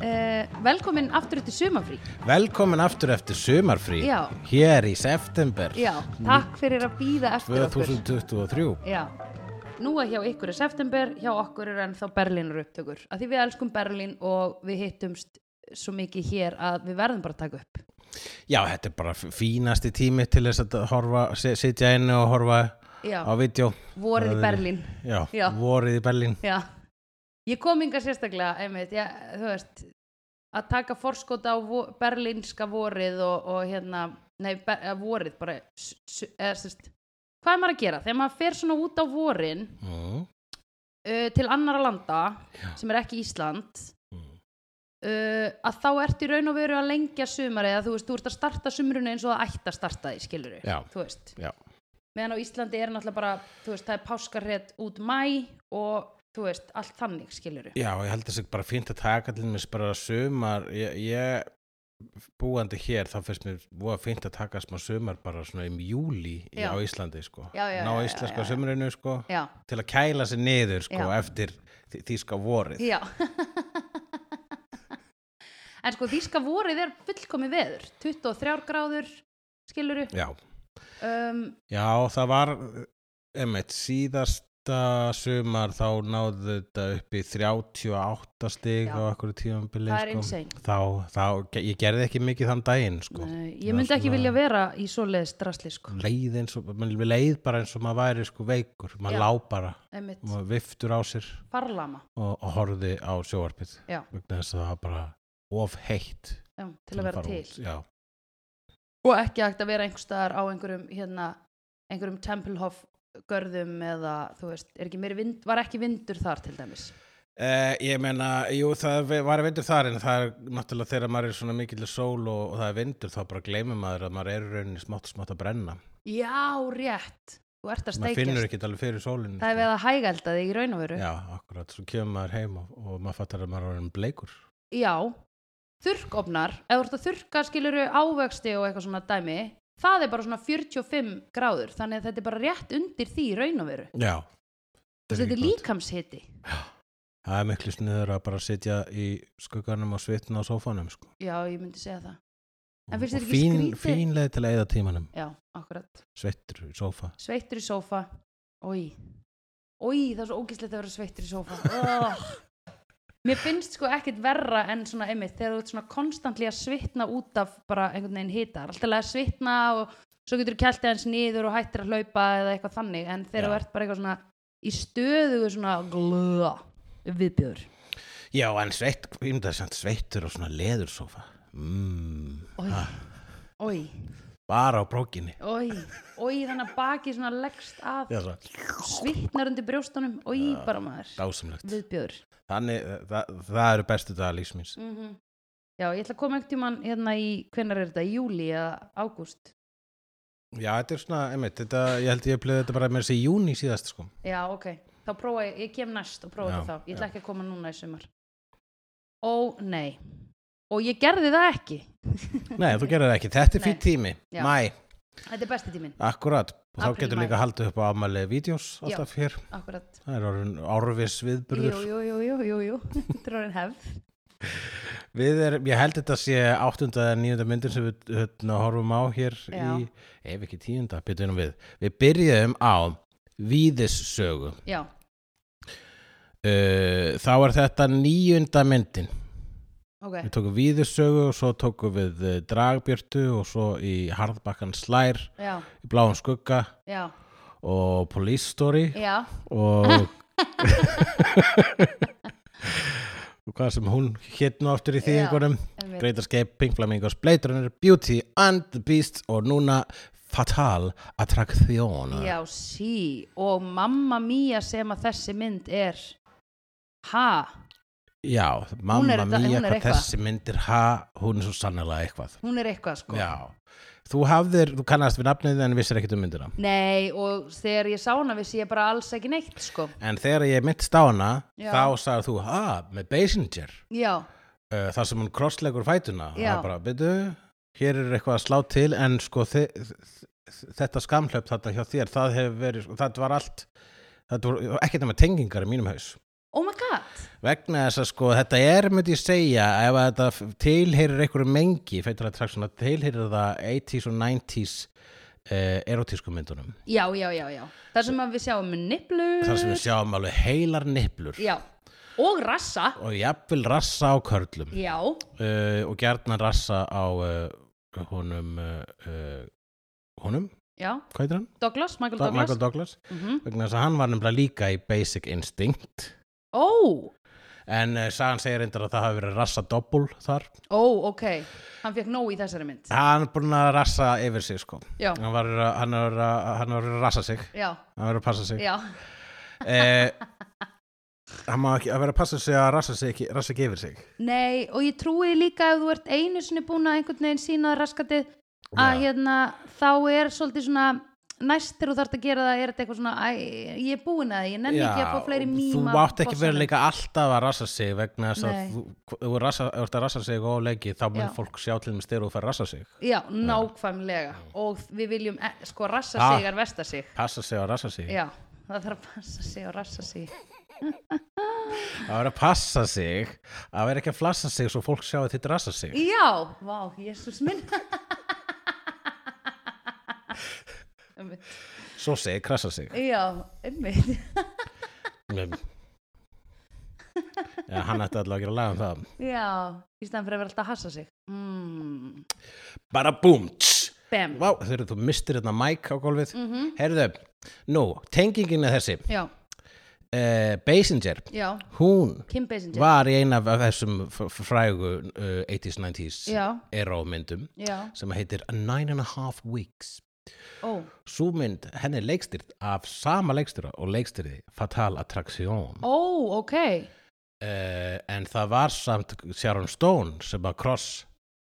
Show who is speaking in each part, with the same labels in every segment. Speaker 1: eh, velkomin aftur eftir sumafrí
Speaker 2: Velkomin aftur eftir sumarfrí
Speaker 1: Já.
Speaker 2: Hér í september
Speaker 1: Já, takk fyrir að býða eftir okkur
Speaker 2: 2023
Speaker 1: Já, nú að hjá ykkur er september, hjá okkur er ennþá Berlínur upptökur Af því við elskum Berlín og við hittumst svo mikið hér að við verðum bara að taka upp
Speaker 2: Já, þetta er bara f- fínasti tími til þess að horfa, si- sitja inni og horfa
Speaker 1: Já,
Speaker 2: á vídeo
Speaker 1: vorið í
Speaker 2: Það er-
Speaker 1: Berlín
Speaker 2: Já,
Speaker 1: Já.
Speaker 2: vorið í Berlín
Speaker 1: Já, ég kom yngar sérstaklega, einmitt, ég, þú veist, að taka forskota á vo berlínska vorið og, og hérna, nei, ber, eh, vorið bara, s- s- eða sérst, hvað er maður að gera? Þegar maður fer svona út á vorin
Speaker 2: mm.
Speaker 1: uh, til annara landa sem er ekki Ísland,
Speaker 2: Mm.
Speaker 1: uh, að þá ertu í raun og veru að lengja sumari eða þú veist, þú ert að starta sumrunu eins og það ætti að starta því, skilur við,
Speaker 2: Já.
Speaker 1: þú veist
Speaker 2: Já,
Speaker 1: meðan á Íslandi er náttúrulega bara þú veist, það er páskarrétt út mæ og þú veist, allt þannig skilur
Speaker 2: Já, ég held þess að bara fínt að taka til mér bara sumar ég, ég búandi hér þá finnst mér voða fínt að taka smá sumar bara svona um júli í,
Speaker 1: Já.
Speaker 2: á Íslandi sko.
Speaker 1: Já, já,
Speaker 2: ná
Speaker 1: já, já,
Speaker 2: íslenska
Speaker 1: já, já.
Speaker 2: sumrinu sko,
Speaker 1: Já,
Speaker 2: til að kæla sig niður sko,
Speaker 1: Já.
Speaker 2: eftir þý- þýska vorið
Speaker 1: já En sko þýska vorið er fullkomið veður 23 gráður skilur
Speaker 2: Já,
Speaker 1: um,
Speaker 2: já það var eh, einmitt, síðasta sumar þá náðu þetta upp í 38 stig
Speaker 1: Já.
Speaker 2: á akkur tíðanbili
Speaker 1: Það er
Speaker 2: sko.
Speaker 1: insane.
Speaker 2: þá, þá, ég gerði ekki mikið þann daginn sko.
Speaker 1: nei,
Speaker 2: Það
Speaker 1: Ég myndi
Speaker 2: var
Speaker 1: ekki
Speaker 2: svona-
Speaker 1: vilja vera í svoleiðis drasli sko
Speaker 2: leið eins og mann leið bara eins og maður væri sko veikur maður
Speaker 1: Já.
Speaker 2: lá bara,
Speaker 1: einmitt,
Speaker 2: maður viftur á sér
Speaker 1: farlama
Speaker 2: og, og horfði á sjóarpið
Speaker 1: Já.
Speaker 2: vegna þess að það var bara of heitt
Speaker 1: já, til að vera
Speaker 2: fara
Speaker 1: til
Speaker 2: út. já,
Speaker 1: og ekki hægt að vera einhvers staðar á einhverjum hérna, einhverjum tempelhof görðum eða þú veist, er ekki meiri vind, var ekki vindur þar til dæmis
Speaker 2: Eh, ég meina, jú, það ve- var vindur þar en það er náttúrulega þegar maður er svona mikill sól og, og það er vindur þá bara gleymir maður að maður er í rauninni smátt og smátt að brenna.
Speaker 1: Já, rétt, þú ert að
Speaker 2: Maður finnur
Speaker 1: steikjast
Speaker 2: ekkert alveg fyrir sólinu.
Speaker 1: Það er
Speaker 2: sko.
Speaker 1: við að hægælda þig í raun og veru
Speaker 2: Já, akkurat, svo kemur maður heim og, og maður fattar að maður er orðinn bleikur.
Speaker 1: Já, þurrkofnar, ef þú ert að þurrka skiluru ávegsti og eitthvað svona dæmi, það er bara svona 45 gráður, þannig að þetta er bara rétt undir því í raun og veru.
Speaker 2: Já.
Speaker 1: Þú veist, Þetta er
Speaker 2: ekki gott.
Speaker 1: líkamshiti.
Speaker 2: Það er miklu sniður að bara sitja í skugganum og svitna á sófanum, sko.
Speaker 1: Já, ég myndi segja það. En
Speaker 2: Og-
Speaker 1: finnst
Speaker 2: og
Speaker 1: þér ekki
Speaker 2: fín,
Speaker 1: skrítið?
Speaker 2: fín leið til að eða tímanum,
Speaker 1: Já, akkurat.
Speaker 2: sveittur í sófa.
Speaker 1: Sveittur í sófa, oi, oi, það er svo ógíslegt að vera sveittur í sófa. Oh. Mér finnst sko ekkit verra en svona einmitt þegar þú ert svona konstantli að svitna út af bara einhvern veginn hita. Það er Alltaf lega að svitna og svo getur þú kælt eins niður og hættir að hlaupa eða eitthvað þannig en þegar
Speaker 2: Já.
Speaker 1: þú ert bara eitthvað svona í stöðu svona glöða viðbjöður.
Speaker 2: Já, en sveitt, ég myndi að segja sveittur og svona leður sófa. Mm,
Speaker 1: Oj, oj,
Speaker 2: bara á brókinni.
Speaker 1: oj, oj, þannig að baki svona leggst að
Speaker 2: Já, svo.
Speaker 1: svitnar undir brjóstunum, oj, bara maður,
Speaker 2: dásamlegt
Speaker 1: viðbjöður.
Speaker 2: þannig, það, það eru bestu dagar lífsmins
Speaker 1: Mm Já, ég ætla að koma einhvern tímann hérna í, hvenær er þetta, í júli eða ágúst?
Speaker 2: já, þetta er svona, einmitt, þetta, ég held ég bleið þetta bara með þessi í júni síðast sko.
Speaker 1: Já, ok. Þá prófa ég, ég kem næst og prófa
Speaker 2: Já,
Speaker 1: þetta þá. Ég
Speaker 2: já.
Speaker 1: ætla ekki að koma núna í sumar. Ó, nei. Og ég gerði það ekki.
Speaker 2: nei, þú gerir það ekki, þetta er
Speaker 1: Nei.
Speaker 2: fyrir tími
Speaker 1: Já.
Speaker 2: mæ,
Speaker 1: Þetta er besti tíminn,
Speaker 2: akkurat og þá
Speaker 1: Apríl,
Speaker 2: getur
Speaker 1: maí.
Speaker 2: líka haldið upp á afmæli vídeos alltaf hér,
Speaker 1: akkurat.
Speaker 2: það er orðin árvis
Speaker 1: Jú,
Speaker 2: viðburður,
Speaker 1: jú, jú, jú, jú, jú. Þetta er orðin hefð.
Speaker 2: við erum, ég held þetta sé áttunda eða nýjunda myndin sem við hérna, horfum á hér
Speaker 1: Já.
Speaker 2: í, ef ekki tíunda, byrjum við við byrjum á víðissögu
Speaker 1: Já,
Speaker 2: uh, þá er þetta nýjunda myndin
Speaker 1: ok.
Speaker 2: Við tókum Víðursögu og svo tókum við eh, Dragbjörtu og svo í Harðbakkan Slær,
Speaker 1: Já,
Speaker 2: í Bláum Skugga
Speaker 1: já,
Speaker 2: og Police Story
Speaker 1: já.
Speaker 2: og og hvað sem hún hétt nú aftur í þýðingunum
Speaker 1: einmitt.
Speaker 2: Great Escape, Pink Flamingos, Blade Runner, Beauty and the Beast og núna Fatal Attraction
Speaker 1: Já, sí. Og mamma mía sem að þessi mynd er, ha,
Speaker 2: Já, mamma
Speaker 1: þetta- hún
Speaker 2: mía
Speaker 1: er
Speaker 2: hvað
Speaker 1: eitthvað.
Speaker 2: þessi myndir ha, hún er svo sannlega eitthvað
Speaker 1: hún er eitthvað sko.
Speaker 2: Já, þú hafðir, þú kannast við nafnið en vissir ekkert um myndina
Speaker 1: Nei, og þegar ég sá hana vissi ég bara alls ekki neitt sko.
Speaker 2: En þegar ég mittst á hana,
Speaker 1: Já.
Speaker 2: þá sagði þú, ha, með Basinger,
Speaker 1: Já,
Speaker 2: uh, þar sem hún krosslegur fætuna. Og
Speaker 1: Já.
Speaker 2: það bara, byrju, hér er eitthvað að slá til, en sko þi, þi- þetta skamhlöp þetta hjá þér, það hefur verið, sko, þetta var allt, þetta voru ekkert nema tengingar í mínum haus.
Speaker 1: oh my god.
Speaker 2: vegna þess að sko þetta er myndi ég segja ef að þetta f- tilheyrir einhverju mengi fættur að traksun að tilheyrir það 80s og 90s eh, erotísku myndunum
Speaker 1: já, já, já, já þar sem að við sjáum niplu
Speaker 2: þar sem við sjáum alveg heilar niplur
Speaker 1: Mm. já, og rassa
Speaker 2: og jafnvel rassa á körlum
Speaker 1: já,
Speaker 2: uh, og gjarnan rassa á uh, honum uh, uh, honum,
Speaker 1: já,
Speaker 2: hvað heitir hann?
Speaker 1: Douglas, Michael
Speaker 2: Da-
Speaker 1: Douglas
Speaker 2: Michael Douglas
Speaker 1: mm
Speaker 2: vegna þess að hann var nefnilega líka í Basic Instinct
Speaker 1: ó,
Speaker 2: en uh, sagan segir reyndar að það hafi verið rassa doppul þar
Speaker 1: ó, ok hann fekk nóg í þessari mynd
Speaker 2: hann er búinn að rassa yfir sig sko
Speaker 1: já,
Speaker 2: hann var að- hann var að hann var að rassa sig
Speaker 1: já,
Speaker 2: hann var að passa sig
Speaker 1: já,
Speaker 2: eh, hann má ekki að vera að passa sig að rassa sig ekki, rassa ekki yfir sig
Speaker 1: nei og ég trúi líka ef þú ert einu sinni búin að einhvern veginn sína raskatið
Speaker 2: Já.
Speaker 1: að hérna, þá er svolítið svona næst þegar þú þarft að gera það er þetta eitthvað svona, æ, ég er búin að því ég nenni ekki að fá fleiri
Speaker 2: þú
Speaker 1: mýma
Speaker 2: mátt ekki vera líka alltaf að rassa sig vegna þess að
Speaker 1: Nei.
Speaker 2: þú, ef þú rassa, ef þú ert að rassa sig og leiki þá mun
Speaker 1: Já.
Speaker 2: fólk sjá til þeim styrir og fer að rassa sig
Speaker 1: já, nákvæmlega og við viljum eh, sko rassa
Speaker 2: Ah.
Speaker 1: sig er vesta sig
Speaker 2: passa sig að rassa sig
Speaker 1: já, það þarf að passa sig og rassa sig
Speaker 2: að vera að passa sig að vera ekki að flassa sig svo fólk sjá að þitt rassa sig
Speaker 1: já, vá, jésús minn Einmitt.
Speaker 2: svo segi krassa sig
Speaker 1: já, einmitt
Speaker 2: Mm. ja, hann ætti allavega að gera lag um það
Speaker 1: já, í stæðan fyrir að vera alltaf að hassa sig mm.
Speaker 2: bara búm tss.
Speaker 1: bam,
Speaker 2: Vá, þegar þú mistir þetta mæk á gólfið mm
Speaker 1: Mhm.
Speaker 2: -hmm. Herðu, nú, tengingin er þessi
Speaker 1: já,
Speaker 2: uh, Basinger,
Speaker 1: já
Speaker 2: hún
Speaker 1: Kim Basinger,
Speaker 2: var í eina af þessum f- f- frægu uh, 80s, 90s
Speaker 1: Já.
Speaker 2: erómyndum
Speaker 1: já,
Speaker 2: sem heitir A Nine and a Half Weeks
Speaker 1: ó
Speaker 2: Sú mynd, henni er leikstyrð af sama leikstyrða og leikstyrði Fatal Attraction
Speaker 1: Ó, ok,
Speaker 2: uh, en það var samt Sharon Stone sem að cross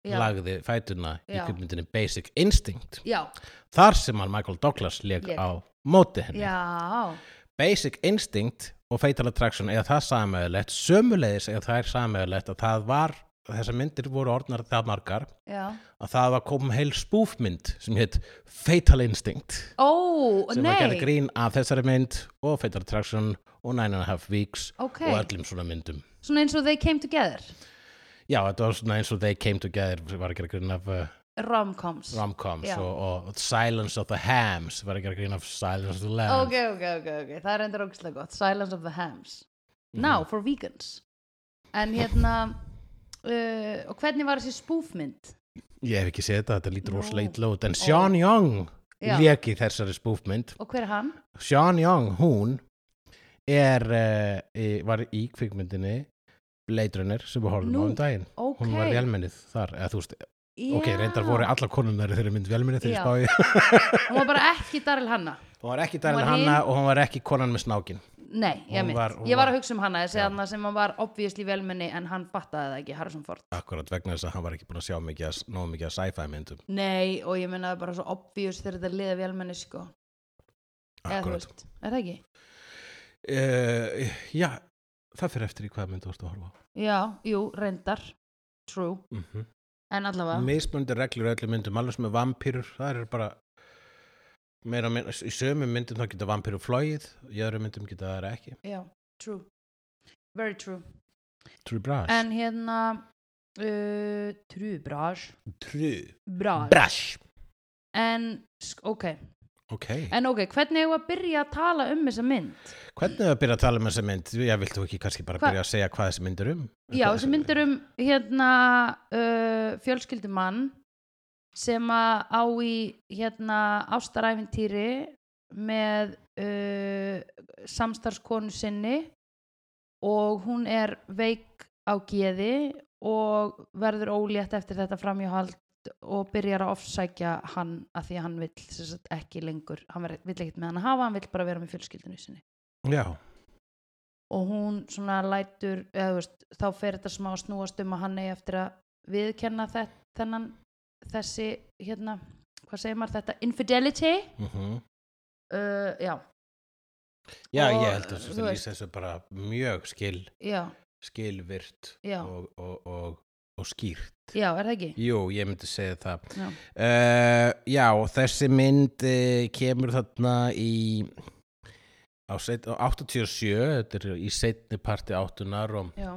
Speaker 1: Já.
Speaker 2: lagði fætuna í
Speaker 1: Já.
Speaker 2: kvikmyndinni Basic Instinct
Speaker 1: já,
Speaker 2: þar sem hann Michael Douglas leik
Speaker 1: Lék.
Speaker 2: á móti henni
Speaker 1: já,
Speaker 2: Basic Instinct og Fatal Attraction eða það samöðulegt sömulegis eða það er samöðulegt að það var þessar myndir voru orðnar það margar
Speaker 1: já
Speaker 2: að það var kom heil spúfmynd sem hétt Fatal Instinct
Speaker 1: Ó,
Speaker 2: sem var gerð
Speaker 1: nei,
Speaker 2: grín af þessari mynd og Fatal Attraction og Nine and a Half Weeks
Speaker 1: Ok.
Speaker 2: og öllum svona myndum
Speaker 1: svona eins og they came together
Speaker 2: Já, þetta var svona eins og They Came Together sem var að gera grín af uh,
Speaker 1: Romcoms
Speaker 2: romcoms
Speaker 1: Já.
Speaker 2: og, og Silence of the Hams var að gera grín af Silence of the Lambs
Speaker 1: Ok, ok, ok, ok, það er endur ógislega gott Silence of the Hams
Speaker 2: Mhm.
Speaker 1: Now for vegans En hérna uh, Og hvernig var þessi spúfmynd?
Speaker 2: Ég hef ekki séð þetta, þetta lítur
Speaker 1: Nú.
Speaker 2: rosalega illa út en Sean
Speaker 1: Já.
Speaker 2: Young lék í þessari spúfmynd
Speaker 1: Og hver er hann?
Speaker 2: Sean Young, hún er, uh, í- var í kvikmyndinni Blade Runner sem við horfum á
Speaker 1: Nú,
Speaker 2: um daginn
Speaker 1: Ok,
Speaker 2: hún var vélmennið þar eða þú veist,
Speaker 1: Já.
Speaker 2: ok, reyndar voru allar konunnar þeirri mynd vélmennið þegar
Speaker 1: Já.
Speaker 2: spáði
Speaker 1: Hún var bara ekki Daryl Hanna
Speaker 2: hún var ekki
Speaker 1: Hún
Speaker 2: dærin
Speaker 1: var hin.
Speaker 2: hanna og hún var ekki konan með snákin
Speaker 1: Nei, ég
Speaker 2: Hún
Speaker 1: mynd
Speaker 2: var- hún
Speaker 1: Ég
Speaker 2: var-
Speaker 1: var að hugsa um hana þessi hann sem hann var obviously velmenni en hann fattaði það ekki, Harrison Ford
Speaker 2: akkurat vegna þess að hann var ekki búin að sjá mikið að, nóg mikið að sci-fi myndum
Speaker 1: Nei, og ég meina það er bara svo obvious þegar þetta liða velmenni sko Eða þú
Speaker 2: akkurat
Speaker 1: veist, Er það ekki?
Speaker 2: uh, já, það fyrir eftir í hvaða mynd þú ert að horfa á
Speaker 1: Já, jú, reyndar True,
Speaker 2: mm -hmm.
Speaker 1: en allavega
Speaker 2: mismunandi reglur í öllum myndum, alveg sem með vampýrur það eru bara meira, og minna- í sömu myndum þá geta vampýrur flóið í öðrum myndum geta það ekki
Speaker 1: Já, true Very true
Speaker 2: True Brash
Speaker 1: En hérna uh, True, brás
Speaker 2: True
Speaker 1: Brás
Speaker 2: Brash
Speaker 1: En, sk- ok
Speaker 2: Ok,
Speaker 1: En ok, hvernig hefur að byrja að tala um þessa mynd?
Speaker 2: hvernig er að byrja að tala um þessa mynd? Já, vilt þú ekki kannski bara
Speaker 1: Hva-
Speaker 2: byrja að segja hvað þessi mynd er um?
Speaker 1: Já, þessi mynd er um hérna uh, fjölskyldumann sem að á í hérna ástaræfintýri með uh, samstarfskonu sinni og hún er veik á geði og verður ólétt eftir þetta framhjóhald og byrjar að ofsækja hann að því að hann vill sem sagt, ekki lengur, hann vill ekkert með hann að hafa hann vill bara vera með fjölskyldinu sinni
Speaker 2: Já,
Speaker 1: og hún svona lætur eða, þú veist, þá fer þetta smá að snúast um að hann eigi eftir að viðkenna þe- þennan þessi hérna, hvað segir maður þetta infidelity
Speaker 2: mm
Speaker 1: uh, já,
Speaker 2: já
Speaker 1: Og,
Speaker 2: ég held að
Speaker 1: þú
Speaker 2: þetta
Speaker 1: veist-
Speaker 2: lýsa þessu bara mjög skil,
Speaker 1: já,
Speaker 2: skilvirt
Speaker 1: Já.
Speaker 2: og, og, og, og skýrt
Speaker 1: já, er það ekki
Speaker 2: Jú, ég myndi segja það. Eh,
Speaker 1: Já.
Speaker 2: Uh, já, og þessi mynd uh, kemur þarna í á seit- á 87, þetta er í seinni parti áttunar og,
Speaker 1: já,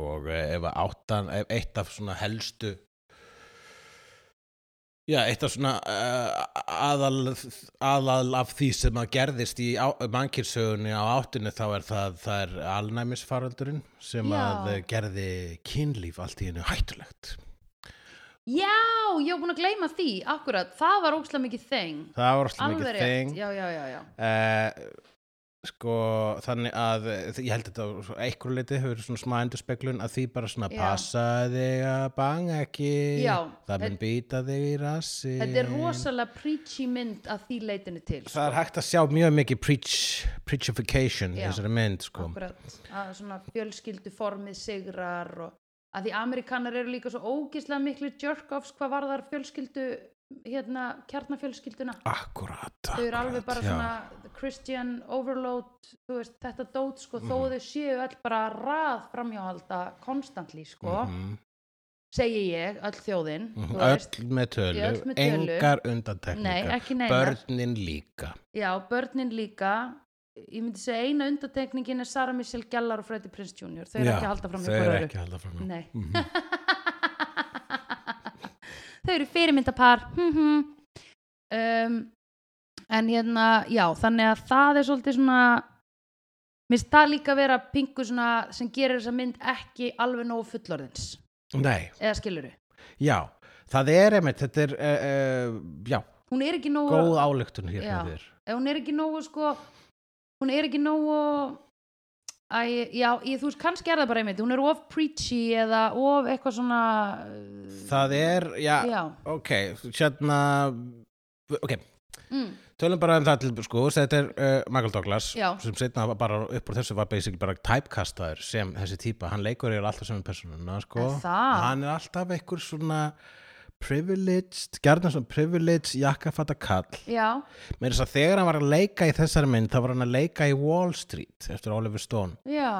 Speaker 2: og eh, ef að áttan, ef eitt af svona helstu Já, eitt af svona uh, aðal, aðal af því sem að gerðist í mannkilsögunni á áttunni þá er það, það er alnæmisfaraldurinn sem
Speaker 1: Já.
Speaker 2: að eh, gerði kynlíf allt í hennu hættulegt.
Speaker 1: já, ég var búin að gleyma því akkurat, það var ókslega mikið þeng
Speaker 2: Það var alltaf
Speaker 1: alveg
Speaker 2: mikið
Speaker 1: rétt,
Speaker 2: þeng.
Speaker 1: já, já, já, já
Speaker 2: Eh, sko þannig að eh, ég held að þetta eitthvað leiti hefur verið svona smá endurspeglun að því bara svona
Speaker 1: Já.
Speaker 2: passa þig að banga ekki
Speaker 1: Já,
Speaker 2: það mun
Speaker 1: þetta-
Speaker 2: býta þig í rassi
Speaker 1: þetta er rosalega preachy mynd að því leitinu til sko.
Speaker 2: það er hægt að sjá mjög mikið preach, preachification í
Speaker 1: Já.
Speaker 2: þessari mynd sko
Speaker 1: akkurat, að svona fjölskyldu formið sigrar og að því amerikanar eru líka svo ógislega miklu jerk-offs hvað varðar fjölskyldu hérna, kjarnafjölskylduna
Speaker 2: akkurat,
Speaker 1: þau eru alveg bara
Speaker 2: já.
Speaker 1: svona Christian overload þú veist, þetta dót sko
Speaker 2: Mhm.
Speaker 1: þó þau séu öll bara rað framhjáhalda konstantli sko
Speaker 2: Mhm,
Speaker 1: segi ég, öll þjóðin þú
Speaker 2: mhm.
Speaker 1: veist.
Speaker 2: öll með tölu,
Speaker 1: Öll með tölu.
Speaker 2: engar
Speaker 1: nei,
Speaker 2: undantekningar
Speaker 1: ekki neina
Speaker 2: börnin líka
Speaker 1: já, börnin líka ég myndi segja eina undatekningin er Sarah Michelle Gellar og Freddie Prinze Jr þau eru
Speaker 2: Já,
Speaker 1: ekki að halda fram hjá
Speaker 2: þau eru
Speaker 1: hver öðru.
Speaker 2: ekki að halda fram hjá. Mhm.
Speaker 1: nei þau eru fyrirmyndapar hm, hm. um, en hérna já, þannig að það er svolítið svona mér finnst það líka vera pingu svona sem gerir þessa mynd ekki alveg nógu fullorðins
Speaker 2: nei,
Speaker 1: eða skiluru,
Speaker 2: já það er einmitt, þetta er uh, uh, já,
Speaker 1: hún er ekki nógu
Speaker 2: góð álöktun hér
Speaker 1: Já.
Speaker 2: með þér
Speaker 1: Eh, hún er ekki nógu sko hún er ekki nógu Æ, já, ég, þú veist, kannski er það bara einmitt hún er of preachy eða of eitthvað svona
Speaker 2: það er, já,
Speaker 1: já,
Speaker 2: ok hérna, ok
Speaker 1: mm,
Speaker 2: tölum bara um það til, sko, þetta er uh, Michael Douglas,
Speaker 1: Já.
Speaker 2: sem setna bara upp úr þessu var basically bara typecastaður sem þessi típa, hann leikur er alltaf sem personuna, sko,
Speaker 1: Er það?
Speaker 2: hann er alltaf einhver svona privileged, gjarnar svona privileged jakkafata kall,
Speaker 1: já,
Speaker 2: með þess að þegar hann var að leika í þessari mynd, þá var hann að leika í Wall Street eftir Oliver Stone
Speaker 1: já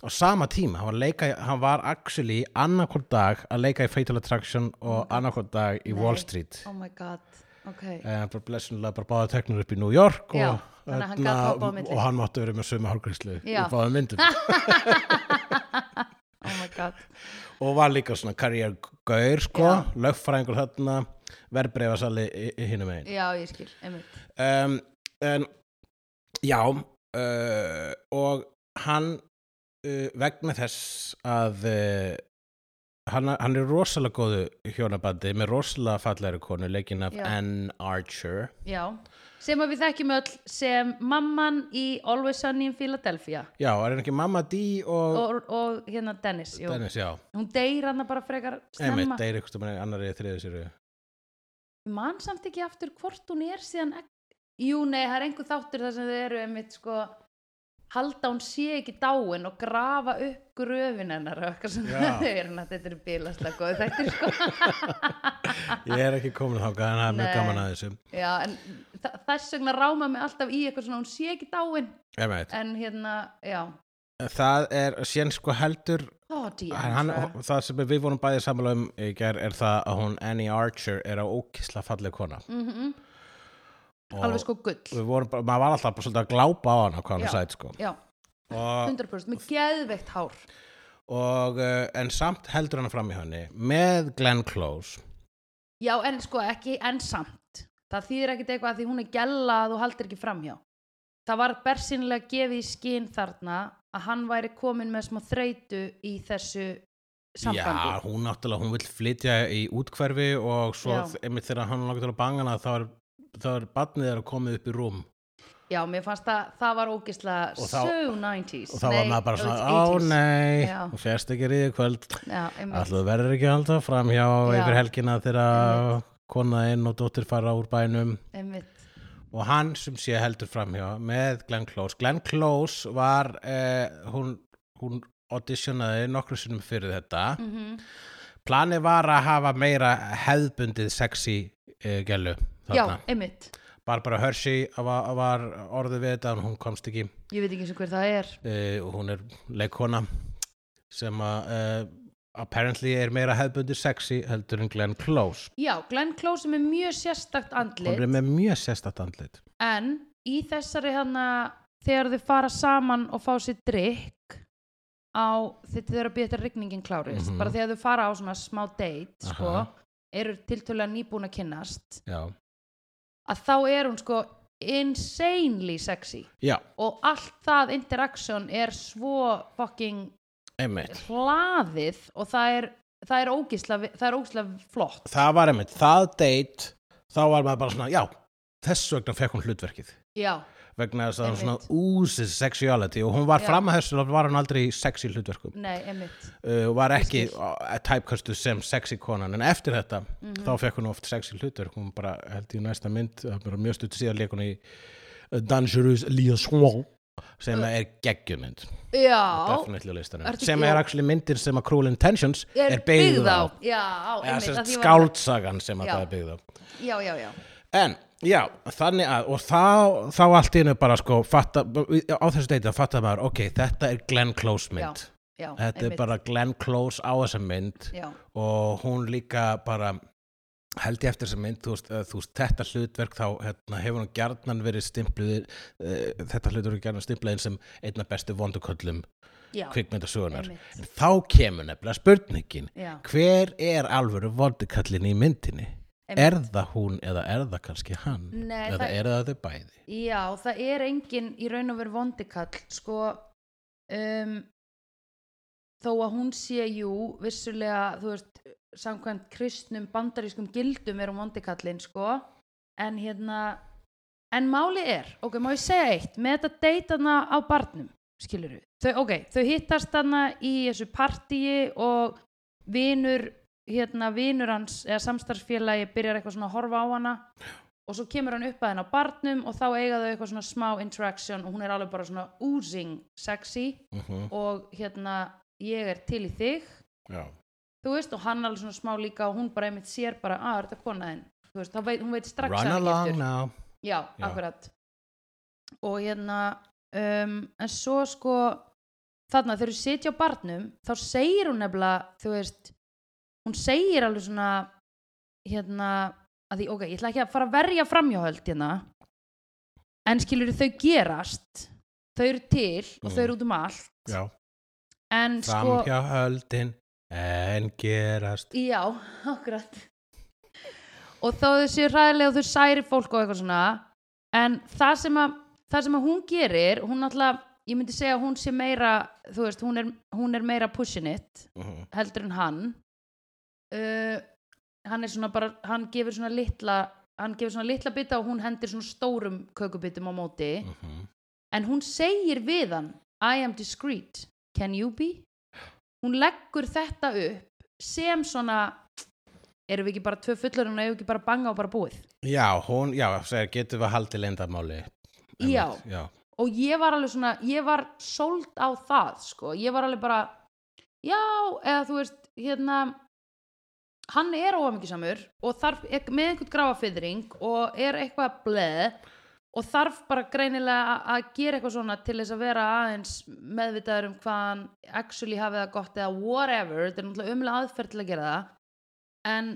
Speaker 2: á sama tíma, hann var, að leika, í- hann var actually annarkvort dag að leika í Fatal Attraction og annarkvort dag í
Speaker 1: Mm. Nei.
Speaker 2: Wall Street
Speaker 1: oh my god, ok
Speaker 2: eh, bara blessunlega bara báða teknur upp í New York
Speaker 1: Já,
Speaker 2: og,
Speaker 1: þannig að hann
Speaker 2: þarna-
Speaker 1: gat hoppað á milli.
Speaker 2: og hann mátti verið með sömu hálgríslu í
Speaker 1: Já.
Speaker 2: báða myndum
Speaker 1: oh my god,
Speaker 2: og var líka svona karriérgaur sko,
Speaker 1: Já.
Speaker 2: lögfræðingur þarna verbreyfasali hinum einn
Speaker 1: já, ég skil einmitt,
Speaker 2: um, en já uh, og hann uh, vegna þess að uh, hann, hann er rosalega góðu hjónabandi með rosalega fallegri konu leikin af
Speaker 1: Já.
Speaker 2: Ann Archer
Speaker 1: já sem að við þekkjum öll sem mamman í Always Sunny in Philadelphia
Speaker 2: já, er hann ekki Mamma Dee og,
Speaker 1: og, og hérna Dennis, jú.
Speaker 2: Dennis, já,
Speaker 1: hún deyr hann bara frekar
Speaker 2: einmitt,
Speaker 1: snemma
Speaker 2: það er eitthvað annari þriðið sér
Speaker 1: Ég man samt ekki aftur hvort hún er síðan ek- jú nei, það er einhver þáttur þar sem þau eru einmitt sko halda hún sé ekki dáin og grafa upp gröfin hennar og eitthvað svona
Speaker 2: Já.
Speaker 1: þau eru hann að þetta er bílaslega góð þetta sko
Speaker 2: ég er ekki komin þáka, en það er
Speaker 1: Nei.
Speaker 2: mjög gaman að þessu
Speaker 1: Já, en þa- þess vegna ráma mig alltaf í eitthvað svona hún sé ekki dáin
Speaker 2: einmitt,
Speaker 1: en hérna, já
Speaker 2: það er sén sko heldur
Speaker 1: Ó, dí,
Speaker 2: hann, hann- það sem við vorum bæðið sammála um í ger er það að hún Annie Archer er að ókisla falleg kona
Speaker 1: mm -hmm,
Speaker 2: og
Speaker 1: alveg sko gull
Speaker 2: við vorum bara, maður var alltaf bara svolítið að glápa á hana hvað
Speaker 1: Já.
Speaker 2: hann sætt sko
Speaker 1: já,
Speaker 2: og,
Speaker 1: 100% með geðveikt hár
Speaker 2: og, eh, en samt heldur hann fram í henni með Glenn Close
Speaker 1: já, en sko ekki, en samt það þýðir ekkit eitthvað að því hún er gælla að þú haldir ekki framhjá það var bersinlega gefið í skinn þarna að hann væri komin með smá þreytu í þessu sambandi
Speaker 2: já, hún náttúrulega, hún vill flytja í útkverfi og svo
Speaker 1: Já.
Speaker 2: þ- einmitt þegar hann langar til að banga hana þá er, þá er barnið þeirra komið upp í rúm
Speaker 1: Já, mér fannst það, það var ógislega
Speaker 2: Og þá-
Speaker 1: so 90s
Speaker 2: og þá var maður bara svona, ó nei
Speaker 1: Já.
Speaker 2: hún férst ekki ríði kvöld
Speaker 1: nei
Speaker 2: Alltaf verður ekki alltaf framhjá
Speaker 1: Já.
Speaker 2: yfir helgina þegar konaðinn og dóttir fara úr bænum
Speaker 1: einmitt,
Speaker 2: og hann sem sé heldur framhjá með Glenn Close. Glenn Close var, eh, hún, hún auditionaði nokkru sinnum fyrir þetta.
Speaker 1: einmitt.
Speaker 2: Planið var að hafa meira hefðbundið sexy eh, gælu
Speaker 1: Já,
Speaker 2: þarna.
Speaker 1: einmitt
Speaker 2: Barbara Hershey var, var orðið við þetta en hún komst ekki.
Speaker 1: Ég veit ekki eins og hver það er
Speaker 2: Eh, og hún er leikona sem að eh, apparently er meira hefðbundið sexy heldur en Glenn Close.
Speaker 1: Já, Glenn Close er með mjög sérstakt andlit
Speaker 2: Hún er með mjög sérstætt andlit.
Speaker 1: en í þessari hana þegar þau fara saman og fá sér drikk á þetta þau eru að býja þetta rigningin klárist
Speaker 2: Mhm.
Speaker 1: bara þegar þau fara á svona smá date sko,
Speaker 2: Aha.
Speaker 1: eru tiltölulega nýbúin að kynnast
Speaker 2: já,
Speaker 1: að þá er hún sko insanely sexy
Speaker 2: já,
Speaker 1: og allt það interaction er svo fucking
Speaker 2: einmitt
Speaker 1: hlaðið og það er það er ógisla, það er ógisla flott
Speaker 2: það var einmitt, það date þá var maður bara svona, já, þess vegna fekk hún hlutverkið
Speaker 1: já,
Speaker 2: vegna þess að hún
Speaker 1: Einmitt.
Speaker 2: svona úsið sexuality og hún var
Speaker 1: Já.
Speaker 2: fram að þessu þá var hún aldrei í sexy hlutverkum
Speaker 1: nei, einmitt
Speaker 2: uh, og var ekki
Speaker 1: Ég skil.
Speaker 2: uh, typecastu sem sexy konan en eftir þetta
Speaker 1: Mhm.
Speaker 2: þá fekk hún oft sexy hlutverk hún bara held í næsta mynd það er bara mjög stutt síðan leik hún í uh, Dangerous Liaison sem er geggjumynd
Speaker 1: já,
Speaker 2: definitely á listanum
Speaker 1: Ertu-
Speaker 2: sem
Speaker 1: já.
Speaker 2: er actually myndir sem að Cruel Intentions er,
Speaker 1: er
Speaker 2: byggð á
Speaker 1: já,
Speaker 2: eða
Speaker 1: einmitt
Speaker 2: sem
Speaker 1: af því
Speaker 2: sagt
Speaker 1: ég var-
Speaker 2: skáldsagan sem að
Speaker 1: Já.
Speaker 2: það er byggð á
Speaker 1: já, já, já,
Speaker 2: En, já, þannig að, og þá, þá allt í einu bara sko, fatta, á þessu deiti að fatta maður, ok, þetta er Glenn Close mynd.
Speaker 1: já
Speaker 2: þetta er
Speaker 1: einmitt.
Speaker 2: bara Glenn Close á þessa mynd
Speaker 1: já,
Speaker 2: og hún líka bara, held ég eftir þessa mynd, þú veist, eh, þú veist þetta hlutverk þá hérna, hefur hún gjarnan verið stimpluð, uh, þetta hlutverk er gjarnan stimplaðin sem einna bestu vonduköllum
Speaker 1: já,
Speaker 2: kvikmyndasögunar.
Speaker 1: einmitt.
Speaker 2: En þá kemur nefnilega spurningin,
Speaker 1: já,
Speaker 2: hver er alvöru vondukallin í myndinni?
Speaker 1: einmitt.
Speaker 2: er það hún eða er það kannski hann
Speaker 1: Nei,
Speaker 2: eða
Speaker 1: það-
Speaker 2: er það þau bæði
Speaker 1: já, það er engin í raun og veru vondikall sko um, þó að hún sé jú vissulega, þú veist samkvæmt kristnum bandarískum gildum er hún vondikallin sko en hérna en máli er, ok, má ég segja eitt með þetta deytana á barnum skilur við, þau, ok, þau hittast þarna í þessu partíi og vinur, hérna vinur hans eða samstarfsfélagi byrjar eitthvað svona að horfa á hana og svo kemur hann upp að henn á barnum og þá eiga þau eitthvað svona smá interaction og hún er alveg bara svona oozing sexy
Speaker 2: uh
Speaker 1: og hérna ég er til í þig
Speaker 2: já,
Speaker 1: þú veist og hann alveg svona smá líka og hún bara einmitt sér bara að þetta er konaðin þú veist, þá veit, hún veit strax
Speaker 2: run
Speaker 1: að hann er
Speaker 2: along
Speaker 1: giftur.
Speaker 2: now
Speaker 1: já,
Speaker 2: Já.
Speaker 1: akkurat og hérna um, en svo sko þarna þegar þú sitja á barnum þá segir hún nefnilega þú veist, hún segir alveg svona hérna að því, ok, ég ætla ekki að fara að verja framhjóhöld hérna en skilur þau gerast þau eru til og þau eru út um allt
Speaker 2: já.
Speaker 1: en sko
Speaker 2: Mm. framhjá höldin en gerast
Speaker 1: Já, akkurat Og þó þau séu hræðilega og þau særi fólk og eitthvað svona En það sem að, það sem að hún gerir Hún alltaf, ég myndi segja að hún sé meira Þú veist, hún er, hún er meira pushin it
Speaker 2: uh
Speaker 1: Heldur en hann uh, Hann er svona bara Hann gefur svona litla Hann gefur svona litla bita og hún hendir svona stórum kökubitum á móti
Speaker 2: Mm. Mhm.
Speaker 1: en hún segir við hann I am discreet, can you be? hún leggur þetta upp sem svona erum við ekki bara tvö fullur og erum við ekki bara að banga og bara búið
Speaker 2: já, hún, já, segir, getum við haldið leyndamáli
Speaker 1: Já.
Speaker 2: Einmitt, já.
Speaker 1: og ég var alveg svona, ég var sold á það sko, ég var alveg bara já, eða þú veist hérna hann er óhamingisamur og þarf er með einhvern gráfafyðring og er eitthvað bleð og þarf bara greinilega a- að gera eitthvað svona til þess að vera aðeins meðvitaður um hvað hann actually hafið það gott eða whatever, þetta er náttúrulega umlega aðferð til að gera það en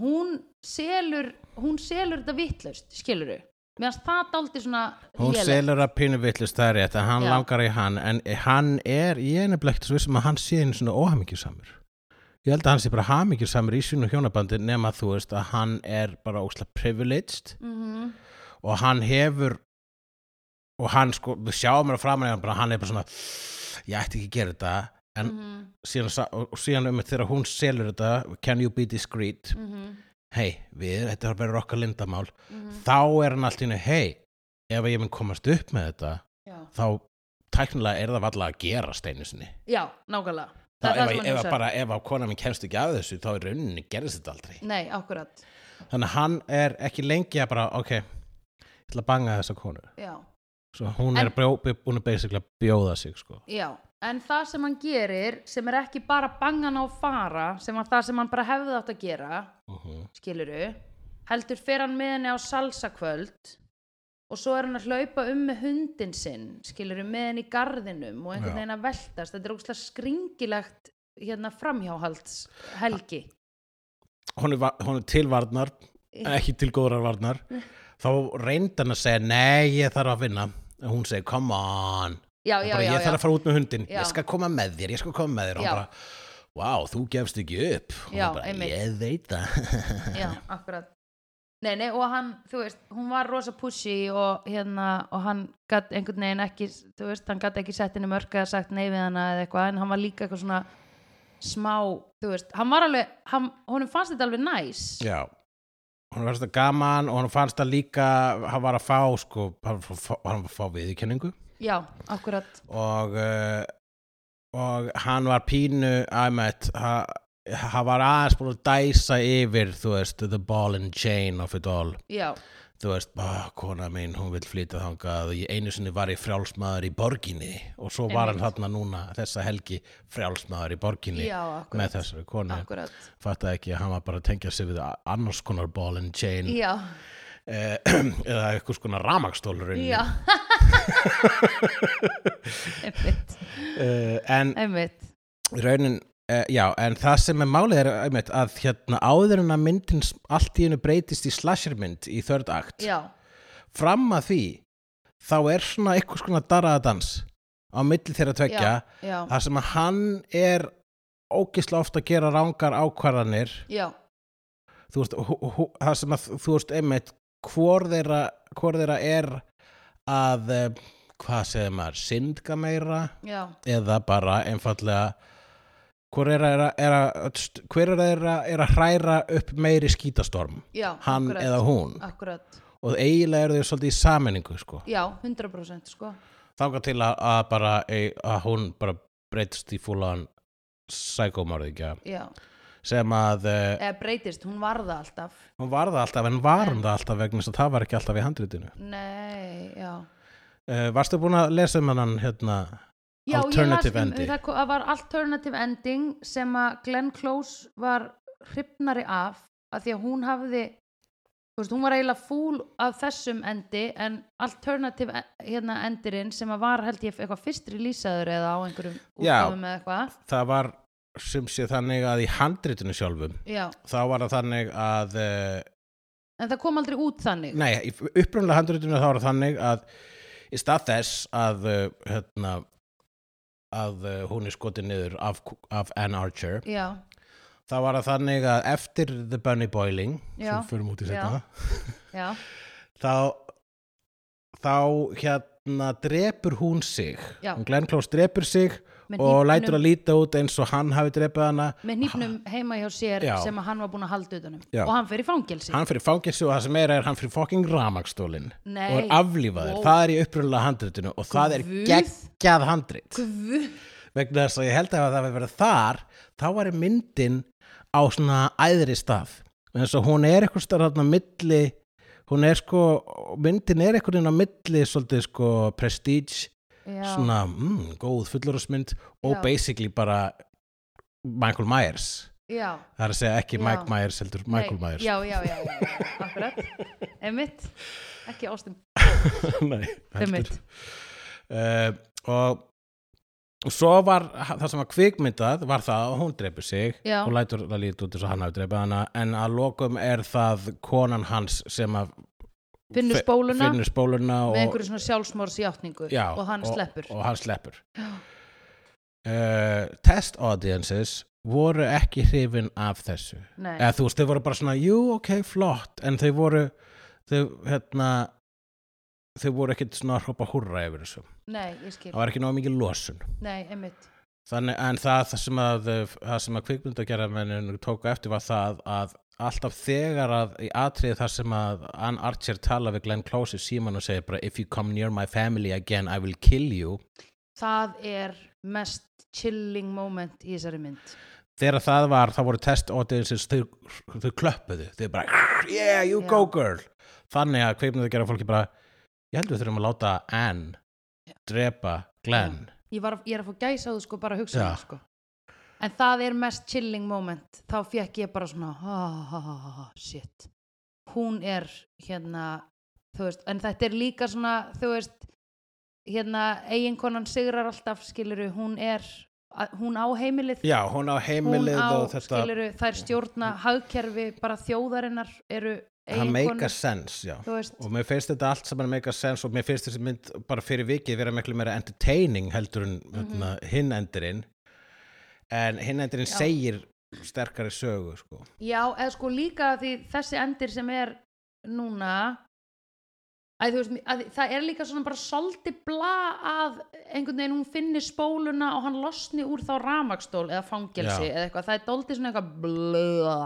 Speaker 1: hún selur hún selur þetta vitlaust, skilur þau meðan það dálítið svona
Speaker 2: hún
Speaker 1: lélegt.
Speaker 2: selur að pínu villist það er rétt að hann
Speaker 1: Já.
Speaker 2: langar í hann en hann er, ég er nefnilega ekkert svo vissum að hann sé einu svona óhamingjusamur ég held að hann sé bara hamingjusamur í sínu hjónabandi nema þú veist að hann er bara ósla privileged
Speaker 1: Mhm.
Speaker 2: og hann hefur og hann sko, við sjáum hann framan í hann bara hann er bara svona, ég ætti ekki að gera þetta en
Speaker 1: Mhm,
Speaker 2: síðan, sa- og og síðan um þegar hún selur þetta can you be discreet,
Speaker 1: mhm,
Speaker 2: hei við, þetta er bara okkar lindamál
Speaker 1: mhm.
Speaker 2: þá er hann allt í hennu, hei ef ég mun komast upp með þetta
Speaker 1: Já.
Speaker 2: þá tæknilega er það valla að gera steinu sinni
Speaker 1: já, nákvæmlega
Speaker 2: þá,
Speaker 1: það er það
Speaker 2: ef,
Speaker 1: sem hann
Speaker 2: ef,
Speaker 1: hugsar.
Speaker 2: bara, ef að kona minn kemst ekki að þessu þá í rauninni gerðist þetta aldrei
Speaker 1: nei, akkurat
Speaker 2: þannig að hann er ekki lengi að bara, ok ég ætla að banga þessa konu
Speaker 1: já,
Speaker 2: Svo hún er,
Speaker 1: En-
Speaker 2: brjó, hún er basically að bjóða sig sko.
Speaker 1: já, en það sem hann gerir sem er ekki bara bangan á fara sem var það sem hann bara hefði átt að gera
Speaker 2: uh
Speaker 1: Mhm. skiluru heldur fer hann með henni á salsakvöld og svo er hann að hlaupa um með hundin sinn skiluru með henni í garðinum og
Speaker 2: Já.
Speaker 1: einhvern veginn að veltast þetta er ógstlega skringilegt hérna framhjáhalds helgi
Speaker 2: Hún, er, va- hún er til varnar
Speaker 1: Mm.
Speaker 2: ekki til góðrar varnar þá reyndi hann að segja nei ég þarf að vinna hún segir come on
Speaker 1: já,
Speaker 2: Hún
Speaker 1: já,
Speaker 2: bara,
Speaker 1: já,
Speaker 2: ég
Speaker 1: já.
Speaker 2: þarf að fara út með hundin,
Speaker 1: Já.
Speaker 2: ég skal koma með þér, ég skal koma með þér og
Speaker 1: Já.
Speaker 2: hann bara, wow, þú gefst ekki upp og
Speaker 1: Já,
Speaker 2: hann bara,
Speaker 1: einmitt.
Speaker 2: ég veit það
Speaker 1: já, akkurat Nei, nei, og hann, þú veist, hún var rosa pushy og hérna, og hann gatt einhvern veginn ekki, þú veist, hann gatt ekki sett henni mörg eða sagt nei við hana eða eitthvað en hann var líka eitthvað svona smá þú veist, hann var alveg, hann, honum fannst þetta alveg næs
Speaker 2: já, hún fannst það gaman og hún fannst það líka hann var að fá, sko, hann var að fá, hann var að fá viðkenningu
Speaker 1: Já, akkurat
Speaker 2: og uh, og hann var pínu æmett, hann var aðeins búin að dæsa yfir, þú veist the ball and chain of it all
Speaker 1: Já,
Speaker 2: þú veist, ah, kona mín, hún vil flytja þangað og ég einu sinni var í frjálsmaður í borginni og svo var hann
Speaker 1: Einmitt.
Speaker 2: þarna núna þessa helgi frjálsmaður í borginni
Speaker 1: já,
Speaker 2: með
Speaker 1: akkurat
Speaker 2: þessari konu,
Speaker 1: Akkurat,
Speaker 2: fattaði ekki að hann var bara að tengja sig við a- annars konar ball and chain
Speaker 1: já,
Speaker 2: eh, eða eitthvað skona ramakstólur
Speaker 1: já Einmitt,
Speaker 2: eh, en
Speaker 1: einmitt
Speaker 2: raunin eh, já, en það sem er málið er einmitt, að hérna áður en að myndin s- allt í hennu breytist í slashermynd í þörd akt,
Speaker 1: Já,
Speaker 2: fram að því þá er svona eitthvað skona darraða dans á milli þeirra tveggja
Speaker 1: já, já,
Speaker 2: þar sem að hann er ógisla oft að gera rángar ákvarðanir
Speaker 1: já
Speaker 2: þú veist, hú- hú- þar sem að þú veist einmitt hvor þeirra, hvor þeirra er að eh, hvað segir maður, syndga meira
Speaker 1: Já,
Speaker 2: eða bara einfallega hvor er að, er að, st- hver er að, er að, er að hræra upp meiri skítastorm
Speaker 1: já,
Speaker 2: hann
Speaker 1: akkurat
Speaker 2: eða hún
Speaker 1: Akkurat,
Speaker 2: og eiginlega eru þau svolítið í sammenningu sko.
Speaker 1: já, 100% sko
Speaker 2: þáka til að, að bara ei- að hún bara breytst í fúlan sækómarðingja
Speaker 1: Já,
Speaker 2: sem að eh,
Speaker 1: eða breytist, hún var það alltaf
Speaker 2: hún var það alltaf en var hún það alltaf vegna þess að það var ekki alltaf í handritinu
Speaker 1: Nei, já
Speaker 2: uh, Varstu búin að lesa um hann hérna
Speaker 1: Já,
Speaker 2: Alternative
Speaker 1: ég las
Speaker 2: ending.
Speaker 1: um, það ko- það var alternative ending sem að Glenn Close var hrifnari af að því að hún hafði þú veist, hún var eiginlega fúl af þessum endi en alternative e- hérna endirinn sem að var held ég eitthvað fyrstri lýsaður eða á einhverjum
Speaker 2: Já.
Speaker 1: útgáfum eða eitthvað
Speaker 2: það var sem sé þannig að í handritinu sjálfum
Speaker 1: Já,
Speaker 2: þá var það þannig að uh,
Speaker 1: en það kom aldrei út þannig
Speaker 2: nei, í upprunlega handritinu þá var það þannig að í stað þess að uh, hérna að uh, hún er skotið niður af, af Ann Archer
Speaker 1: Já,
Speaker 2: þá var það þannig að eftir The Bunny Boiling
Speaker 1: Já.
Speaker 2: sem fyrir mútið
Speaker 1: Já.
Speaker 2: setna
Speaker 1: já,
Speaker 2: þá þá hérna drepur hún sig
Speaker 1: Já.
Speaker 2: hún Glenn Close drepur sig
Speaker 1: Með
Speaker 2: og
Speaker 1: hnífnum.
Speaker 2: lætur að líta út eins og hann hafi drepið hana
Speaker 1: með nýpnum heima hjá sér
Speaker 2: Já.
Speaker 1: sem að hann var búin að halda utanum
Speaker 2: Já.
Speaker 1: og hann fer í fangelsi
Speaker 2: hann fyrir fangelsi og það sem er er hann fyrir fucking ramakstólin
Speaker 1: Nei.
Speaker 2: og er aflífaður,
Speaker 1: Wow.
Speaker 2: það er í upprunlega handritinu og það er
Speaker 1: Guð.
Speaker 2: geggjað handrit
Speaker 1: Guð.
Speaker 2: vegna þess að ég held að ef það hefði verið þar þá var myndin á svona æðri stað eins og hún er eitthvað starf þarna á milli hún er sko, myndin er eitthvað inn á milli svolítið sko prestige
Speaker 1: Já.
Speaker 2: svona mm, góð fullorðsmynd og
Speaker 1: Já.
Speaker 2: basically bara Michael Myers
Speaker 1: Já.
Speaker 2: það er að segja ekki
Speaker 1: Já.
Speaker 2: Mike Myers heldur Michael
Speaker 1: Nei,
Speaker 2: Myers
Speaker 1: já, já, já, já, já, akkurat Emmitt, ekki Austin
Speaker 2: Nei, heldur.
Speaker 1: Emmitt,
Speaker 2: uh, og og svo var það sem var kvikmyndað var það að hún dreipur sig
Speaker 1: Já.
Speaker 2: og lætur það lítið út eins og hann hafi dreipið hana en að lokum er það konan hans sem að
Speaker 1: finnur
Speaker 2: fe-
Speaker 1: spóluna
Speaker 2: finnur spóluna
Speaker 1: með
Speaker 2: og,
Speaker 1: einhverju svona sjálfsmórsjátningu
Speaker 2: já,
Speaker 1: og hann sleppur
Speaker 2: og, hann sleppur. Uh, test audiences voru ekki hrifin af þessu
Speaker 1: Nei,
Speaker 2: eða þú veist, þau voru bara svona, jú, ok, flott en þau voru þau, hérna, þau voru ekkit svona að hrópa húrra yfir þessu
Speaker 1: nei, ég skil
Speaker 2: það var ekki náðu mikið losun
Speaker 1: Nei, Emmitt,
Speaker 2: Þannig, en það, það sem að, það sem að kvikmyndagerðamennin tóku eftir var það að alltaf þegar að í atriði þar sem að Ann Archer tala við Glenn Close í síman og segir bara if you come near my family again I will kill you
Speaker 1: það er mest chilling moment í þessari mynd
Speaker 2: þegar það var, það voru test audiences, þau, þau klöppuðu þau bara, yeah, you go
Speaker 1: Já.
Speaker 2: girl þannig að kvikmyndagerðar fólki bara ég heldur við þurfum að láta Ann drepa Glenn
Speaker 1: Ég, var, ég er að fá gæsa á þú sko bara að hugsa
Speaker 2: Já.
Speaker 1: það, sko. En það er mest chilling moment þá fekk ég bara svona ha, ha, ha, ha, ha, shit hún er hérna þú veist, en þetta er líka svona þú veist, hérna eiginkonan sigrar alltaf, skiluru hún er, að, hún á heimilið
Speaker 2: já, hún á
Speaker 1: hún
Speaker 2: heimilið
Speaker 1: á,
Speaker 2: og þetta
Speaker 1: skiluru þær stjórna hagkerfi bara þjóðarinnar eru
Speaker 2: hann
Speaker 1: eiginkonur,
Speaker 2: make a sense, já
Speaker 1: þú veist,
Speaker 2: og mér finnst þetta allt saman make a sense og mér finnst þessi mynd bara fyrir vikið vera miklu meira entertaining heldur en
Speaker 1: Mhm.
Speaker 2: mm hinn endurinn en hinn endurinn
Speaker 1: Já.
Speaker 2: segir sterkari sögu sko.
Speaker 1: já, eða sko líka því þessi endir sem er núna að, veist, að, það er líka svona bara soldi bla að einhvern veginn hún finni spóluna og hann losni úr þá ramakstól eða fangelsi
Speaker 2: Já.
Speaker 1: eða eitthvað, það er doldi svona eitthvað blöða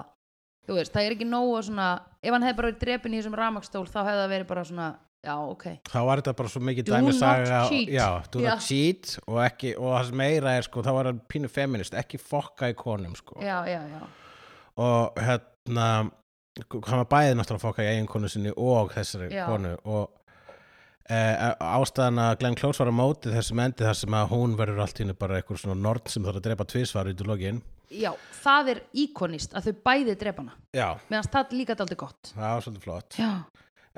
Speaker 1: þú veist, það er ekki nógu svona ef hann hefði bara verið drepin í þessum ramakstól þá hefði það verið bara svona, já, ok
Speaker 2: þá var þetta bara svo mikið
Speaker 1: Do
Speaker 2: dæmi
Speaker 1: not
Speaker 2: saga-
Speaker 1: cheat.
Speaker 2: já, do
Speaker 1: Já.
Speaker 2: not cheat og, ekki, og það sem meira er sko, þá var hann pínu feminist ekki fokka í konum sko.
Speaker 1: já, já, já,
Speaker 2: og hérna hann var bæðið náttúrulega að fokka í eigin konu sinni og þessari
Speaker 1: Já.
Speaker 2: konu og e, ástæðan að Glenn Close var á móti þessum endi þar sem að hún verður allt í henni bara einhver svona nord sem þarf að drepa tvisvar út úr lokin
Speaker 1: já það er íkonist að þau bæði drepana
Speaker 2: já,
Speaker 1: meðan það líka daldi gott
Speaker 2: það var svolítið flott
Speaker 1: já,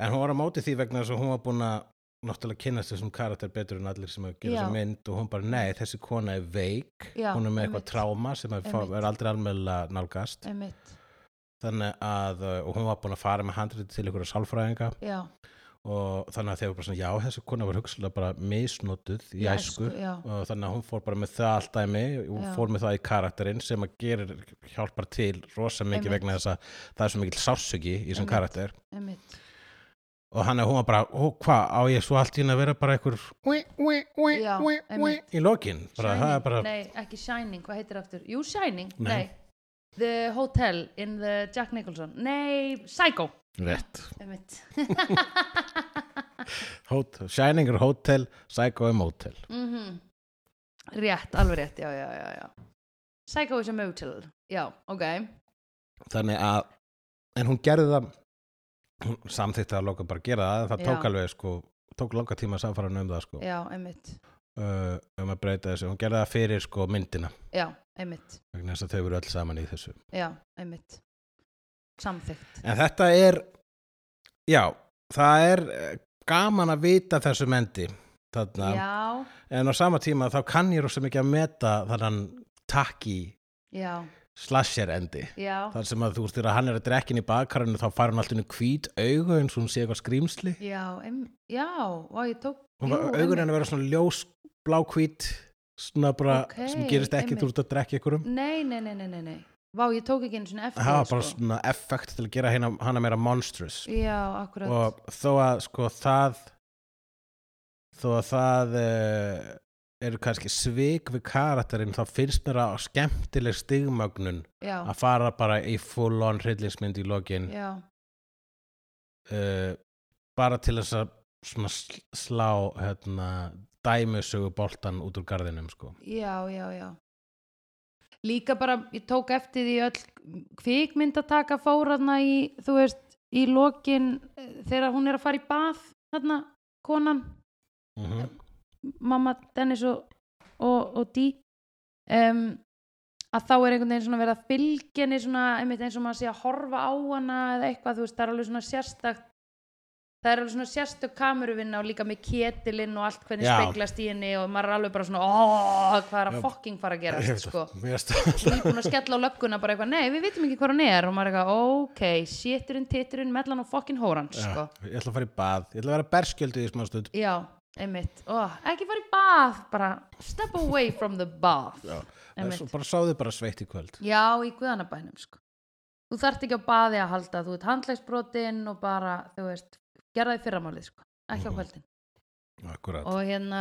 Speaker 2: en hún var á móti því vegna þess að hún var búin að náttúrulega kynnast þessum karakter betur en allir sem að gera
Speaker 1: Já.
Speaker 2: þessa mynd og hún bara, nei, þessi kona er veik
Speaker 1: Já,
Speaker 2: hún er með
Speaker 1: einmitt.
Speaker 2: eitthvað tráma sem að fá-
Speaker 1: Einmitt.
Speaker 2: er aldrei almennilega nálgast
Speaker 1: einmitt,
Speaker 2: þannig að, eh, og hún var búin að fara með handrið til einhverja sálfræðinga
Speaker 1: já
Speaker 2: og þannig að þeir voru bara svona, já, þessi kona var hugsalega bara misnotuð í
Speaker 1: Já, sko,
Speaker 2: æsku
Speaker 1: já,
Speaker 2: og þannig að hún fór bara með það allt dæmi og
Speaker 1: Já.
Speaker 2: fór með það í karakterinn sem að gerir hjálpar til rosa mikið
Speaker 1: Einmitt.
Speaker 2: vegna þess að það er svo mikil sásugi í þessum
Speaker 1: Einmitt.
Speaker 2: karakter
Speaker 1: einmitt
Speaker 2: og hann að hún var bara, ó, hvað, á ég svo allt í henni að vera bara einhver ui, ui, ui,
Speaker 1: Já,
Speaker 2: ui, ui,
Speaker 1: einmitt.
Speaker 2: í lokin bara, það
Speaker 1: Shining,
Speaker 2: er bara,
Speaker 1: Nei, ekki Shining, hvað heitir aftur? Jú, Shining, nei.
Speaker 2: Nei.
Speaker 1: The Hotel in the Jack Nicholson Nei, Psycho
Speaker 2: rétt
Speaker 1: einmitt.
Speaker 2: Hot, Shining er hotel, Psycho er motel
Speaker 1: mm Rétt, alveg rétt, já, já, já, já Psycho is a motel, já, ok
Speaker 2: þannig að, en hún gerði það hún samþýtti að loka bara að gera það, það
Speaker 1: Já.
Speaker 2: tók alveg sko, tók langa tíma að samfara um það sko,
Speaker 1: Já, einmitt,
Speaker 2: uh, um að breyta þessu hún gerði það fyrir sko myndina
Speaker 1: já, einmitt
Speaker 2: vegna þess að þau eru öll saman í þessu
Speaker 1: Já, einmitt Samþykkt
Speaker 2: en þetta er já, það er eh, gaman að vita þessu mendi þarna,
Speaker 1: Já,
Speaker 2: en á sama tíma þá kann ég rosa mikið að meta þannan takki
Speaker 1: já,
Speaker 2: slasher endi
Speaker 1: já
Speaker 2: þar sem að þú veist þegar hann er að drekkin í bakkarinu þá fær hann alltaf hvít augu eins og hún sé eitthvað skrýmsli
Speaker 1: Já, em, já, og ég tók
Speaker 2: Hún var
Speaker 1: jú,
Speaker 2: augun
Speaker 1: einmitt.
Speaker 2: henni að vera svona ljós blákvít svona bara
Speaker 1: Ókei,
Speaker 2: sem gerist ekki þú
Speaker 1: einmitt.
Speaker 2: ert að drekja ykkurum
Speaker 1: Nei, nei, nei, nei, nei, nei Vá, ég tók ekki einu svona eftir sko.
Speaker 2: það var
Speaker 1: því,
Speaker 2: bara svona effekt til að gera hana, hana meira monstrous
Speaker 1: Já, akkurat
Speaker 2: og þó að sko það þó að það uh, eru kannski svik við karakterinn þá finnst mér að skemmtileg stigmögnun
Speaker 1: já,
Speaker 2: að fara bara í full on hryllingsmynd í lokin
Speaker 1: já,
Speaker 2: uh, bara til þess að svona sl- slá hérna, dæmusögu boltan út úr garðinum sko
Speaker 1: já, já, já Líka bara, ég tók eftir því öll kvikmyndataka fór þarna í, þú veist, í lokin eh, þegar hún er að fara í bað þarna, konan
Speaker 2: mm
Speaker 1: mamma Dennis og, og, og Dí um, að þá er einhvern veginn svona verið að fylgja henni svona einmitt eins og maður sé að horfa á hana eða eitthvað, þú veist, það er alveg svona sérstakt það er alveg svona sérstök kameruvinna og líka með ketilinn og allt hvernig
Speaker 2: Já.
Speaker 1: speglast í henni og maður er alveg bara svona óh, hvað er að fokking fara að
Speaker 2: Ég
Speaker 1: gera
Speaker 2: veit
Speaker 1: sko,
Speaker 2: það, mér finnst það-
Speaker 1: nýbúin að skella á lögguna bara eitthvað, nei, við vitum ekki hvað hún er og maður er eitthvað, ok, séturinn, titurinn mellan og fokkin hóran, sko
Speaker 2: Já, ég ætla að fara í bað, ég ætla að vera berskjöldu í smá stund
Speaker 1: Já, einmitt oh, ekki fara í bath, bara step away from the bath
Speaker 2: Já, En
Speaker 1: einmitt.
Speaker 2: svo bara sáðu bara sveitt í kvöld
Speaker 1: Já, í guðanabænum sko. þú þarft ekki á baði að halda þú ert handlægsbrotin og bara þú veist, gera því fyrramálið sko. ekki á
Speaker 2: Mhm.
Speaker 1: kvöldin
Speaker 2: Akkurat,
Speaker 1: og hérna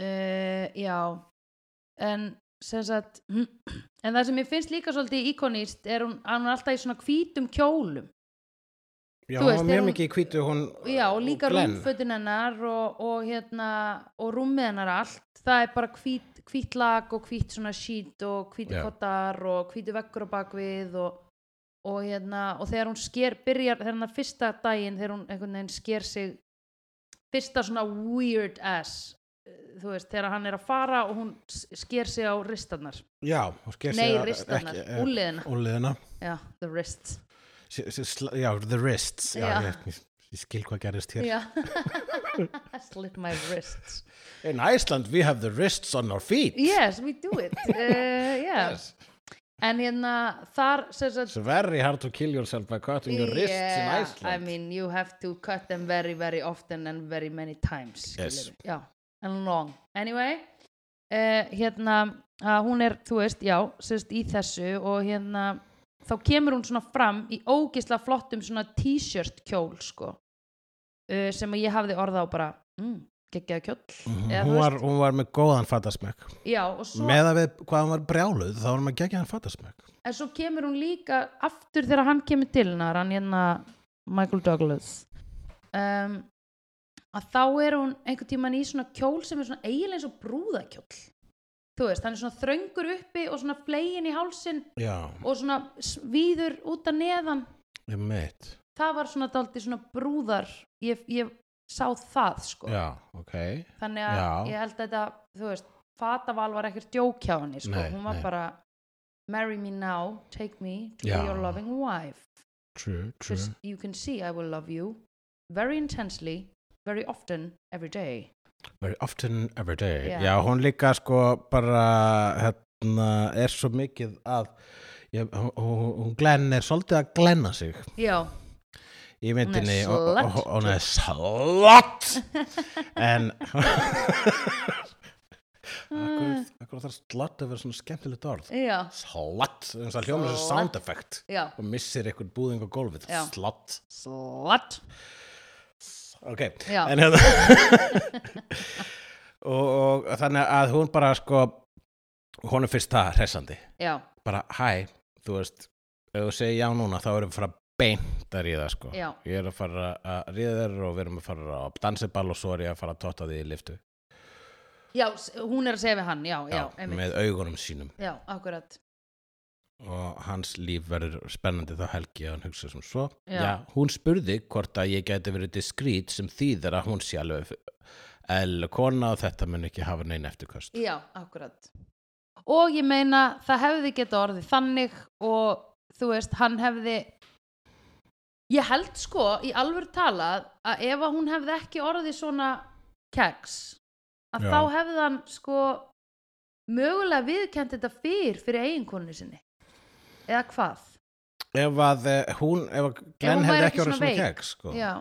Speaker 1: uh, já en sem sagt en það sem mér finnst líka svolítið íkonist er hún, að hún er alltaf í svona hvítum kjólum
Speaker 2: já,
Speaker 1: þú
Speaker 2: hún var
Speaker 1: veist, er
Speaker 2: mjög
Speaker 1: hún-
Speaker 2: mikið í hvítu hún
Speaker 1: já, og líka
Speaker 2: Glenn.
Speaker 1: rúmfötin hennar og, og hérna og rúmið hennar allt það er bara hvít, hvít lag og hvít svona sheet og hvíti
Speaker 2: Já.
Speaker 1: kottar og hvíti veggur á bakvið og, og hérna og þegar hún sker, byrjar þegar hennar fyrsta daginn þegar hún einhvern veginn sker sig fyrsta svona weird ass eh, þú veist, þegar hann er að fara og hún s- sker sig á ristarnar
Speaker 2: Já, hún sker sig
Speaker 1: nei,
Speaker 2: að-
Speaker 1: ristarnar,
Speaker 2: ekki- eh,
Speaker 1: úliðina
Speaker 2: Úlliðina
Speaker 1: já, the wrists
Speaker 2: Sí- sí- sl- Já, the wrists Já,
Speaker 1: Já.
Speaker 2: Ég, ég, ég skil hvað gerist hér
Speaker 1: já slip my wrists
Speaker 2: In Iceland we have the wrists on our feet
Speaker 1: Yes, we do it. Uh, yeah.
Speaker 2: Yes.
Speaker 1: en hérna þar sem sagt
Speaker 2: It's very hard to kill yourself by cutting your wrists in
Speaker 1: I
Speaker 2: Iceland.
Speaker 1: mean you have to cut them very very often and very many times
Speaker 2: Yes.
Speaker 1: skilurðu. já, and long anyway uh, hérna að hún er þú veist já sérst í þessu og hérna þá kemur hún svona fram í ógisla flottum svona t-shirt kjól sko uh, sem ég hafði orða á bara mm, geggjaða kjóll
Speaker 2: Mhm,
Speaker 1: eða
Speaker 2: hún,
Speaker 1: þú
Speaker 2: var, hún var með góðan fattasmekk.
Speaker 1: já og svo
Speaker 2: Með að við hvað hún var brjáluð, þá var hún með geggjaðan fattasmekk.
Speaker 1: en svo kemur hún líka aftur þegar hann kemur til hennar hann hérna Michael Douglas um, að þá er hún einhvern tímann í svona kjól sem er svona eiginlega eins og brúðakjól þú veist, hann er svona þröngur uppi og svona flegin í hálsin
Speaker 2: Já,
Speaker 1: og svona svíður út að neðan
Speaker 2: ég meitt.
Speaker 1: það var svona daldi svona brúðar ég, ég sá það sko
Speaker 2: Já, ok.
Speaker 1: þannig að
Speaker 2: Já.
Speaker 1: ég held að þetta, þú veist fataval var ekkert djók hjá henni sko.
Speaker 2: Nei,
Speaker 1: hún var
Speaker 2: nei.
Speaker 1: bara marry me now, take me to
Speaker 2: Já.
Speaker 1: be your loving wife
Speaker 2: True, true.
Speaker 1: because you can see I will love you very intensely, very often, every day.
Speaker 2: Very often every day.
Speaker 1: Já.
Speaker 2: Já, hún líka sko bara, hérna, er svo mikið að, ég, hún, hún- hún glenn er svolítið að glenna sig.
Speaker 1: Já,
Speaker 2: í myndinni
Speaker 1: Hún er
Speaker 2: og- og-
Speaker 1: slut.
Speaker 2: og- og hún er slott en akkur þarf slott að vera svona skemmtilegt orð
Speaker 1: já,
Speaker 2: slott, þannig að hljóma þessu
Speaker 1: Slut.
Speaker 2: sound effect
Speaker 1: já.
Speaker 2: og missir einhvern búðing á gólfið
Speaker 1: Já.
Speaker 2: slott,
Speaker 1: Slut.
Speaker 2: ok
Speaker 1: Já.
Speaker 2: en hérna og, og þannig að hún bara sko hún er fyrst það hressandi
Speaker 1: Já,
Speaker 2: bara hæ, þú veist ef þú segir já núna þá erum við að fara beint að ríða sko
Speaker 1: Já.
Speaker 2: ég er að fara að ríða þér og við erum að fara á dansiball og svo er ég að fara að totta því í liftu
Speaker 1: já, s- hún er að segja við hann, já, já, einmitt.
Speaker 2: með augunum sínum
Speaker 1: Já, akkurat.
Speaker 2: og hans líf verður spennandi þá helgi að hann hugsa sem svo
Speaker 1: Já.
Speaker 2: hún spurði hvort að ég gæti verið diskrít sem þýðir að hún sé alveg el kona og þetta mun ekki hafa neina eftirkost
Speaker 1: Já, akkurat. Og ég meina, það hefði geta orðið þannig og þú veist, hann hefði, ég held sko í alvöru talað að ef að hún hefði ekki orðið svona keks, að
Speaker 2: Já.
Speaker 1: þá hefði hann sko mögulega viðkend þetta fyrr fyrir eiginkonu sinni. Eða hvað?
Speaker 2: ef að eh, hún, ef að Glenn
Speaker 1: hún væri
Speaker 2: hefði
Speaker 1: ekki
Speaker 2: ekki orðið
Speaker 1: svona
Speaker 2: svona
Speaker 1: veik.
Speaker 2: kegg sko.
Speaker 1: Já,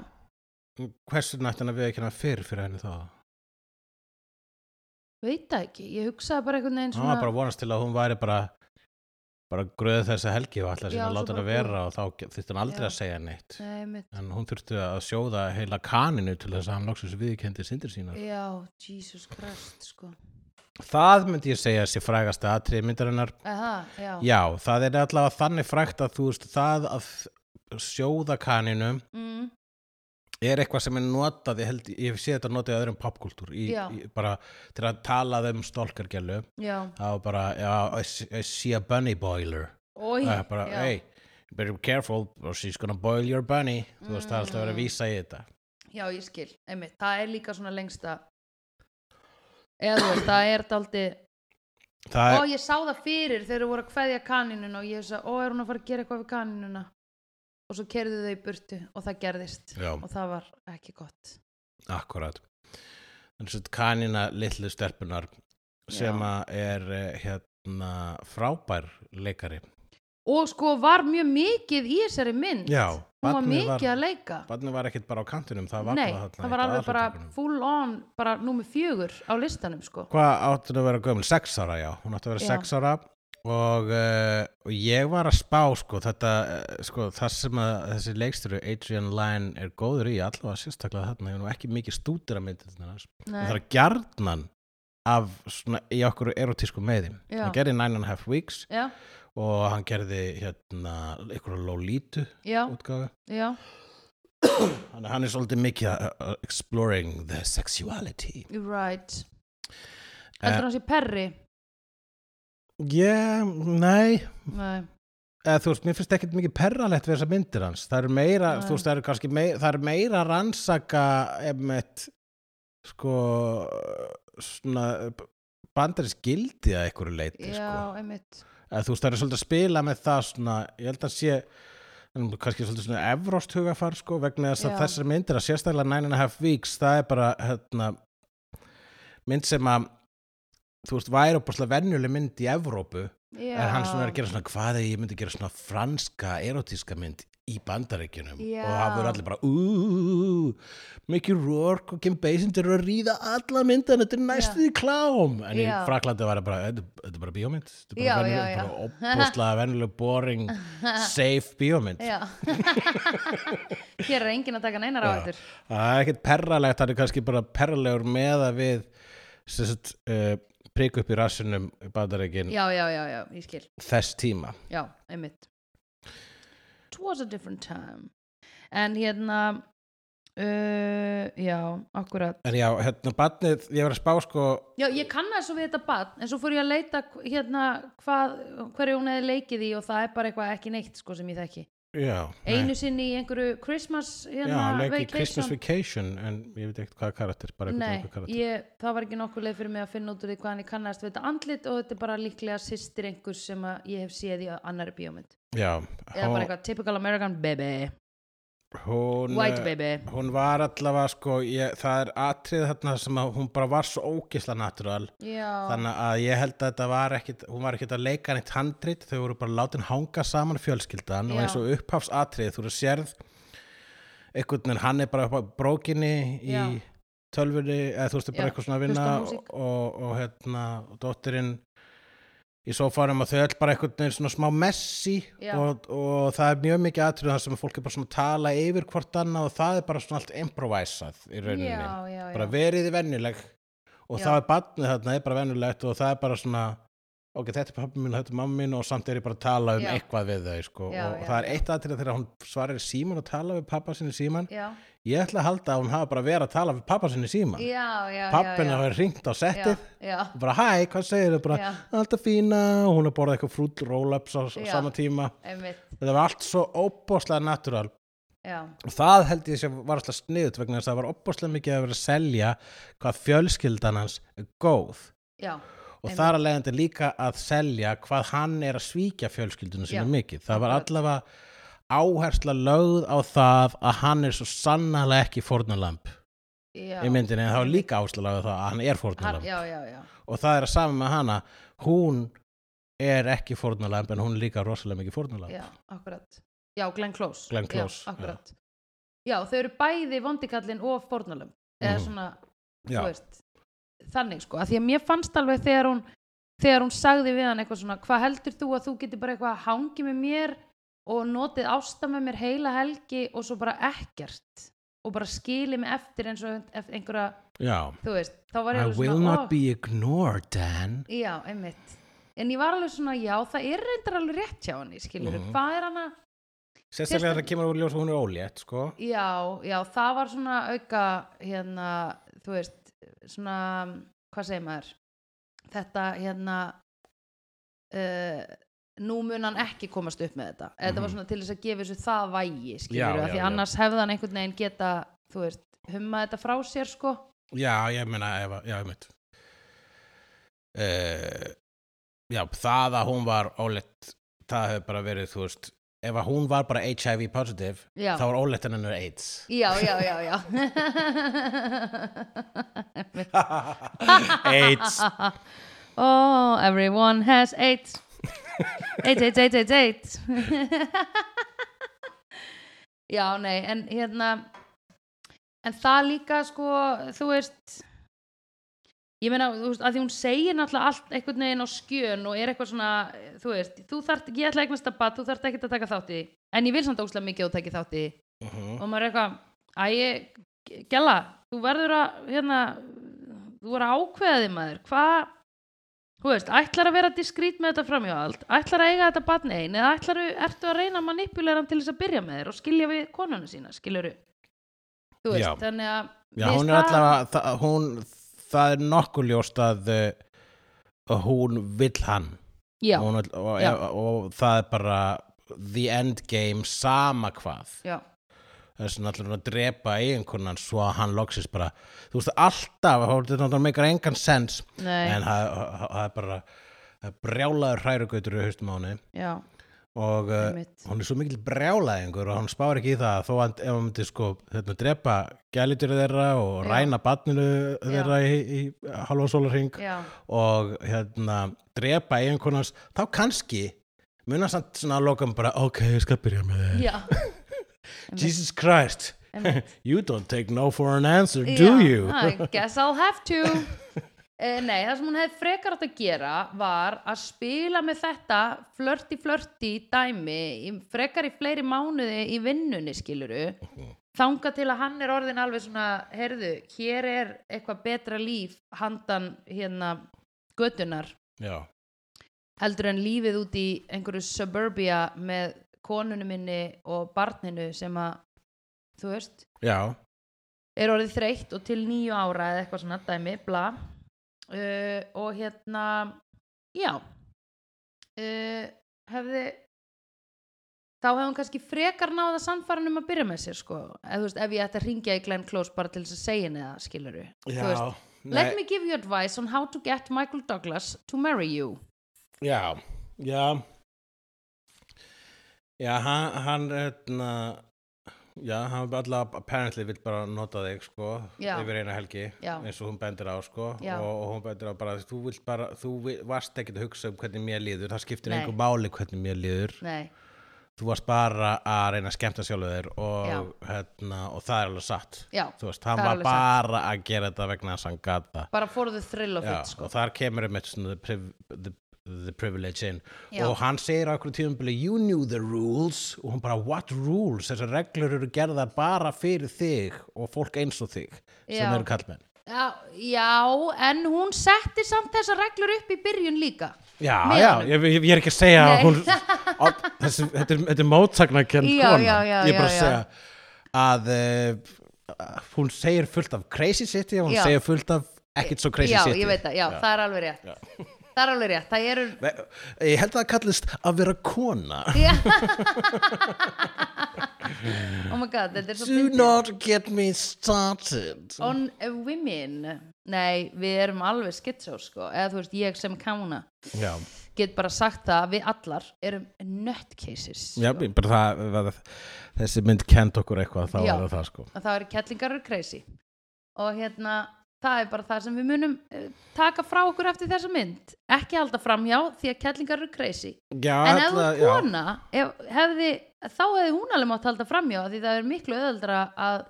Speaker 2: hversu nætti hann að við ekki hann fyrr fyrir henni þá
Speaker 1: veit það ekki. Ég hugsaði bara einhvern veginn
Speaker 2: Hann var Ah, bara
Speaker 1: svona,
Speaker 2: að vonast til að hún væri bara bara gröð þessa helgi og alltaf sem
Speaker 1: Já,
Speaker 2: að
Speaker 1: svo
Speaker 2: láta
Speaker 1: bara
Speaker 2: hana vera og þá þurfti hann aldrei
Speaker 1: Já.
Speaker 2: að segja neitt
Speaker 1: nei, mitt,
Speaker 2: en hún þurfti að sjóða heila kaninu til þess að hann loksins viðkendi sindir sínar
Speaker 1: já, Jesus Christ, sko.
Speaker 2: það myndi ég segja sé frægasta atrið myndarinnar
Speaker 1: Aha, já,
Speaker 2: já, það er allavega þannig frægt að þú veist það að sjóða kaninu
Speaker 1: Mm,
Speaker 2: er eitthvað sem er notað ég, held, ég sé þetta notað í öðrum popkultúr í,
Speaker 1: Já.
Speaker 2: í, bara til að talað um stólkargjölu
Speaker 1: já.
Speaker 2: það var bara, já, I see- I see a bunny boiler
Speaker 1: Ói,
Speaker 2: Það er bara,
Speaker 1: já.
Speaker 2: hey, you better be careful or she's gonna boil your bunny þú veist, það er alltaf að vera
Speaker 1: Mm.
Speaker 2: að vísa í þetta
Speaker 1: Já, ég skil, einmitt, það er líka svona lengsta eða þú veist, það er daldi
Speaker 2: það
Speaker 1: ó,
Speaker 2: er,
Speaker 1: ég sá það fyrir þegar þau voru að kveðja kaninuna og ég sagði, ó, er hún að fara að gera eitthvað við kaninuna og svo kerðu þau í burtu og það gerðist
Speaker 2: já,
Speaker 1: og það var ekki gott
Speaker 2: akkurat þannig svo kanina litlu stelpunar sem
Speaker 1: Já.
Speaker 2: að er eh, hérna frábær leikari
Speaker 1: og sko var mjög mikið í þessari mynd
Speaker 2: já,
Speaker 1: hún var
Speaker 2: barnið
Speaker 1: mikið að leika
Speaker 2: barnið var ekkit bara á kantinum það var
Speaker 1: Nei,
Speaker 2: bara þarna
Speaker 1: það var
Speaker 2: í
Speaker 1: alveg bara
Speaker 2: aðalhlutverkunum.
Speaker 1: full on bara númer fjögur á listanum sko
Speaker 2: hvað áttu að vera gömul? 6 ára, já, hún áttu að vera
Speaker 1: Já.
Speaker 2: 6 ára og, uh, og ég var að spá sko, þetta, uh, sko, það sem að þessi leiksturu Adrian Lyne er góður í allavega sérstaklega þarna, ég er nú ekki mikið stútir að myndi þarna,
Speaker 1: Nei,
Speaker 2: það er gjarnan af svona í okkur erotísku meðin,
Speaker 1: Já.
Speaker 2: hann gerði Nine and a Half Weeks
Speaker 1: já,
Speaker 2: og hann gerði hérna, einhverja Lolita
Speaker 1: já,
Speaker 2: útgáfu,
Speaker 1: já,
Speaker 2: hann, hann er svolítið mikið að- að exploring the sexuality
Speaker 1: right
Speaker 2: Eh,
Speaker 1: heldur hann sé perri
Speaker 2: ég, nei
Speaker 1: Nei,
Speaker 2: eða þú veist, mér finnst ekkert mikið perralegt við þessar myndir hans, það eru meira
Speaker 1: Nei.
Speaker 2: þú veist, það eru kannski meira, það eru meira að rannsaka emmett sko svona bandari skildi að einhverju leiti
Speaker 1: já,
Speaker 2: sko.
Speaker 1: einmitt
Speaker 2: eða þú veist, það eru svolítið að spila með það svona, ég held að sé en kannski svolítið svona evróst hugafar sko, vegna þess að
Speaker 1: Já.
Speaker 2: þessar myndir að sérstaklega Nine and a Half Weeks, það er bara hérna, mynd sem að þú veist, væri opaslega venjuleg mynd í Evrópu
Speaker 1: já.
Speaker 2: er hann svona að gera svona hvað ef ég myndi gera svona franska erotíska mynd í bandaríkjunum
Speaker 1: Já.
Speaker 2: og það voru allir bara "Ú, Mickey Rourke og Kim Basinger eru að ríða alla myndina, þetta er næstu því klám en í
Speaker 1: Já.
Speaker 2: Fraklandi var það bara þetta þetta er bara bíómynd, þetta
Speaker 1: Já,
Speaker 2: er bara,
Speaker 1: já,
Speaker 2: venjuleg-
Speaker 1: já.
Speaker 2: bara opbúslega venjuleg boring, safe bíómynd
Speaker 1: Já. Hér er enginn að taka neinar
Speaker 2: Já.
Speaker 1: áhættur.
Speaker 2: það er ekkert perralegt, það er kannski bara perralegur með að við sem sagt, uh, prik upp í rassinum bandaríkin
Speaker 1: Já, já, já, já, ég skil.
Speaker 2: þess tíma
Speaker 1: Já, einmitt. It was a different time. En hérna, uh, já, akkurat.
Speaker 2: en já, hérna, barnið, ég var að spá sko
Speaker 1: Já, ég kannaði svo við þetta badn, en svo fór ég að leita hv- hérna hvað, hverju hún hefði leikið í og það er bara eitthvað ekki neitt sko sem ég þekki.
Speaker 2: Já,
Speaker 1: Einu sinni í einhverju Christmas
Speaker 2: já,
Speaker 1: hérna,
Speaker 2: hann leik í
Speaker 1: vacation.
Speaker 2: Christmas Vacation en ég veit ekkert hvaða karakter bara einhvern
Speaker 1: Nei,
Speaker 2: einhver karakter
Speaker 1: ég, það var ekki nokkuð leið fyrir mig að finna út úr því hvað hann ég kannaðist við þetta andlit og þetta er bara líklega sýstir einhvers sem að ég hef séð í annari bíómynd.
Speaker 2: Já,
Speaker 1: Eða bara eitthvað typical American baby,
Speaker 2: hún, eh,
Speaker 1: white baby.
Speaker 2: hún var allavega sko ég, það er atrið þarna sem að hún bara var svo ógisla natural
Speaker 1: Já,
Speaker 2: þannig að ég held að þetta var ekkit hún var ekkit að leika neitt handrit þau voru bara látin hanga saman fjölskyldan og
Speaker 1: Já.
Speaker 2: eins og upphafsatrið þú eru sérð einhvern veginn hann er bara upp á brókinni í
Speaker 1: Já.
Speaker 2: tölvunni eða þú veist bara
Speaker 1: Já,
Speaker 2: eitthvað svona að
Speaker 1: hlusta
Speaker 2: vinna
Speaker 1: á
Speaker 2: og,
Speaker 1: músík.
Speaker 2: og, og hérna og dóttirinn í sófarum að þau öll bara einhvern veginn svona smá messi
Speaker 1: Já.
Speaker 2: og, og það er mjög mikið atrið þar sem fólk er bara svona að tala yfir hvort annað og það er bara svona allt improvisað í
Speaker 1: já,
Speaker 2: rauninni
Speaker 1: já, já.
Speaker 2: bara verið vennileg og
Speaker 1: Já.
Speaker 2: það er barnið þarna, er bara vennilegt og það er bara svona ok, þetta er pappi minn, þetta er mamma minn og samt er ég bara að tala um
Speaker 1: Já.
Speaker 2: eitthvað við þau sko.
Speaker 1: Já,
Speaker 2: og
Speaker 1: já,
Speaker 2: það er
Speaker 1: já.
Speaker 2: eitt aðtrið þegar hún svarar í síman og tala við pappa sinni í síman
Speaker 1: Já,
Speaker 2: ég ætla að halda að hún hafa bara verið að tala við pappa sinni í síman
Speaker 1: já, já.
Speaker 2: pappin hafa ringt á
Speaker 1: já,
Speaker 2: settið
Speaker 1: já,
Speaker 2: og bara hæ, hvað segir þau bara
Speaker 1: Já.
Speaker 2: alltaf fína, og hún er borðað eitthvað frúll roll-ups á s-
Speaker 1: Já.
Speaker 2: sama tíma
Speaker 1: einmitt,
Speaker 2: þetta var allt svo óbóðslega natural
Speaker 1: já.
Speaker 2: og það held ég sem var alltaf sniðut vegna þess að það var opbáslega mikið að vera að selja hvað fjölskyldan hans er góð
Speaker 1: Já,
Speaker 2: og
Speaker 1: Einmitt.
Speaker 2: þar að leiðandi líka að selja hvað hann er að svíkja fjölskyldunum
Speaker 1: Já,
Speaker 2: sinni mikið það var
Speaker 1: akkurat.
Speaker 2: allavega áhersla lögð á það að hann er svo sannarlega ekki fórnulamb
Speaker 1: já.
Speaker 2: í myndinni en það var líka áhersla lögð á það að hann er
Speaker 1: Hann,
Speaker 2: fórnulamb
Speaker 1: já, já, já.
Speaker 2: og það er að sama með hana hún er ekki fórnulamb en hún er líka rosalega mikið fórnulamb
Speaker 1: Já, akkurat. Já, Glenn Close.
Speaker 2: Glenn Close,
Speaker 1: Já,
Speaker 2: já.
Speaker 1: akkurat. Já, þau eru bæði vondikallin og fórnalum. Eða
Speaker 2: Mhm.
Speaker 1: svona,
Speaker 2: Já.
Speaker 1: þú veist, þannig sko. Að því að mér fannst alveg þegar hún, þegar hún sagði við hann eitthvað svona, hvað heldur þú að þú getur bara eitthvað að hangi með mér og notið ásta með mér heila helgi og svo bara ekkert og bara skili mig eftir eins og ef- einhverja,
Speaker 2: Já.
Speaker 1: þú veist, þá var ég
Speaker 2: I
Speaker 1: alveg
Speaker 2: will
Speaker 1: svona,
Speaker 2: not
Speaker 1: "Oh,
Speaker 2: be ignored Dan
Speaker 1: Já, einmitt. En ég var alveg svona, já, það er reyndar alveg rétt hjá henni, skilur
Speaker 2: Mhm.
Speaker 1: Hvað er hann að,
Speaker 2: Sérstaklega þegar
Speaker 1: Sérstaklega-
Speaker 2: það kemur úr ljós og hún er ólétt, sko.
Speaker 1: já, já, það var svona auka, hérna, þú veist, svona, hvað segir maður? Þetta, hérna, uh, nú mun hann ekki komast upp með þetta. Þetta var
Speaker 2: Mhm.
Speaker 1: svona til þess að gefa þessu það vægi, skilur
Speaker 2: Já,
Speaker 1: Af
Speaker 2: já,
Speaker 1: því
Speaker 2: já.
Speaker 1: annars hefði hann einhvern veginn geta, þú veist, humma þetta frá sér, sko.
Speaker 2: Já, ég meina, ef, að- já, ég meint. Uh, já, það að hún var ólétt, það hefur bara verið, þú veist, ef að hún var bara HIV positive,
Speaker 1: Já.
Speaker 2: þá var ólétt en hennar AIDS.
Speaker 1: Já, já, já, já.
Speaker 2: AIDS.
Speaker 1: oh, everyone has eight. Eight, eight, eight, eight, eight. Já, nei, en hérna, en það líka, sko, þú veist, ég meina, þú veist, að því hún segir náttúrulega allt einhvern veginn á skjön og er eitthvað svona, þú veist, þú þarft, ég ætla að eignast að bat, þú þarft ekkert að taka þátt í, því. en ég vil samt óslega mikið að þú takir þátt í, því
Speaker 2: Uh -huh.
Speaker 1: og maður er eitthvað æ, ég- Gjalla, þú verður að hérna, þú verður að ákveða þig maður hvað, þú veist, ætlar að vera diskrít með þetta framhjáhald, ætlar að eiga þetta batn ein eða ætlar að, ertu að reyna að manipulera hann til þess að byrja með þér og skilja við konuna sína skiluru, þú veist,
Speaker 2: Já.
Speaker 1: þannig að
Speaker 2: Já,
Speaker 1: mér
Speaker 2: hún er
Speaker 1: finnst það-
Speaker 2: allavega, það, hún, það er nokkuð ljóst að, eh, að hún vill hann.
Speaker 1: já,
Speaker 2: Hún, vill- og,
Speaker 1: Já.
Speaker 2: og, og það er bara the end game sama hvað.
Speaker 1: já,
Speaker 2: þess að allir að drepa eiginkonan svo að hann loksis bara þú veist alltaf, það er náttúrulega meikar engan sens
Speaker 1: nei,
Speaker 2: en það það- það er bara það er brjálaður hrærugutur í haustum á henni
Speaker 1: já
Speaker 2: og uh,
Speaker 1: einmitt.
Speaker 2: hún er svo mikil brjálæðingur og hún spáir ekki í það þó að ef hún myndi sko hérna, drepa gælitur þeirra og
Speaker 1: Já.
Speaker 2: ræna batninu þeirra í, í halva sólarhing
Speaker 1: Já,
Speaker 2: og hérna drepa einhvernars, þá kannski munar samt svona að lokum bara ok, ég skal byrja með þeir
Speaker 1: já,
Speaker 2: Jesus Christ,
Speaker 1: einmitt.
Speaker 2: you don't take no for an answer,
Speaker 1: Já,
Speaker 2: do you?
Speaker 1: I guess I'll have to Eh, Nei, það sem hún hefði frekar átt að gera var að spila með þetta flörti flörti dæmi í- frekar í fleiri mánuði í vinnunni skiluru
Speaker 2: Mhm.
Speaker 1: þanga til að hann er orðin alveg svona heyrðu, hér er eitthvað betra líf handan hérna götunar
Speaker 2: Já,
Speaker 1: heldur en lífið út í einhverju suburbia með konunum minni og barninu sem að þú veist,
Speaker 2: já,
Speaker 1: er orðið þreytt og til nýju ára eða eitthvað svona dæmi, bla uh, og hérna já uh, hefði þá hefði hún kannski frekar náða samfæran um að byrja með sér sko ef, þú veist, ef ég ætti að ringja í Glenn Close bara til þess að segja henni það, skilur
Speaker 2: já,
Speaker 1: Let
Speaker 2: nei,
Speaker 1: me give you advice on how to get Michael Douglas to marry you
Speaker 2: já, já, já, hann, hann, hérna, já, hann allavega apparently vill bara nota þig, sko,
Speaker 1: Já.
Speaker 2: yfir eina helgi,
Speaker 1: Já.
Speaker 2: eins og hún bendir á, sko,
Speaker 1: Já.
Speaker 2: og, og hún bendir á bara, þú vilt bara, þú vi- varst ekkert að hugsa um hvernig mér líður, það skiptir
Speaker 1: Nei.
Speaker 2: engu máli hvernig mér líður,
Speaker 1: Nei,
Speaker 2: þú varst bara að reyna að skemmta sjálfu þér og,
Speaker 1: Já.
Speaker 2: hérna, og það er alveg satt,
Speaker 1: já,
Speaker 2: þú veist, hann
Speaker 1: Það er
Speaker 2: var
Speaker 1: alveg
Speaker 2: bara að gera þetta vegna þess að hann gata.
Speaker 1: bara for the thrill of
Speaker 2: Já,
Speaker 1: it sko.
Speaker 2: og þar kemur um eitt svona the, priv the, the privilege in
Speaker 1: Já.
Speaker 2: og hann segir á einhverjum tíðumbili you knew the rules og hún bara what rules þessar reglur eru gerðar bara fyrir þig og fólk eins og þig sem
Speaker 1: Já.
Speaker 2: eru kallmenn
Speaker 1: já, já, en hún setti samt þessar reglur upp í byrjun líka
Speaker 2: já,
Speaker 1: Með
Speaker 2: já,
Speaker 1: honum.
Speaker 2: ég, ég, ég er ekki að segja að
Speaker 1: Nei.
Speaker 2: hún, á, þessi, þetta, er, þetta er mótsagnakend
Speaker 1: Já,
Speaker 2: kona
Speaker 1: já, já,
Speaker 2: ég er bara
Speaker 1: já,
Speaker 2: að segja að uh, hún segir fullt af crazy shit og hún
Speaker 1: Já.
Speaker 2: segir fullt af ekkert svo crazy
Speaker 1: já,
Speaker 2: shit
Speaker 1: ég veit það, já, það er alveg rétt það er alveg rétt, það eru
Speaker 2: ég held að það kallist að vera kona
Speaker 1: Já. oh my god, þetta er svo
Speaker 2: Do
Speaker 1: fyndið.
Speaker 2: not get me started
Speaker 1: on a women nei, við erum alveg skitsó sko, eða þú veist, ég sem kána
Speaker 2: Já,
Speaker 1: get bara sagt það að við allar erum nutcases
Speaker 2: já ég- bara það, það, þessi mynd kent okkur eitthvað, þá
Speaker 1: Já.
Speaker 2: er það það sko
Speaker 1: og það eru kettlingar og crazy og hérna, það er bara það sem við munum eh, taka frá okkur eftir þessa mynd ekki halda framhjá því að kettlingar eru crazy
Speaker 2: já,
Speaker 1: en ef
Speaker 2: ætla-
Speaker 1: hún kona ef, hefði, þá hefði hún alveg mátt halda framjá því það er miklu öðaldra að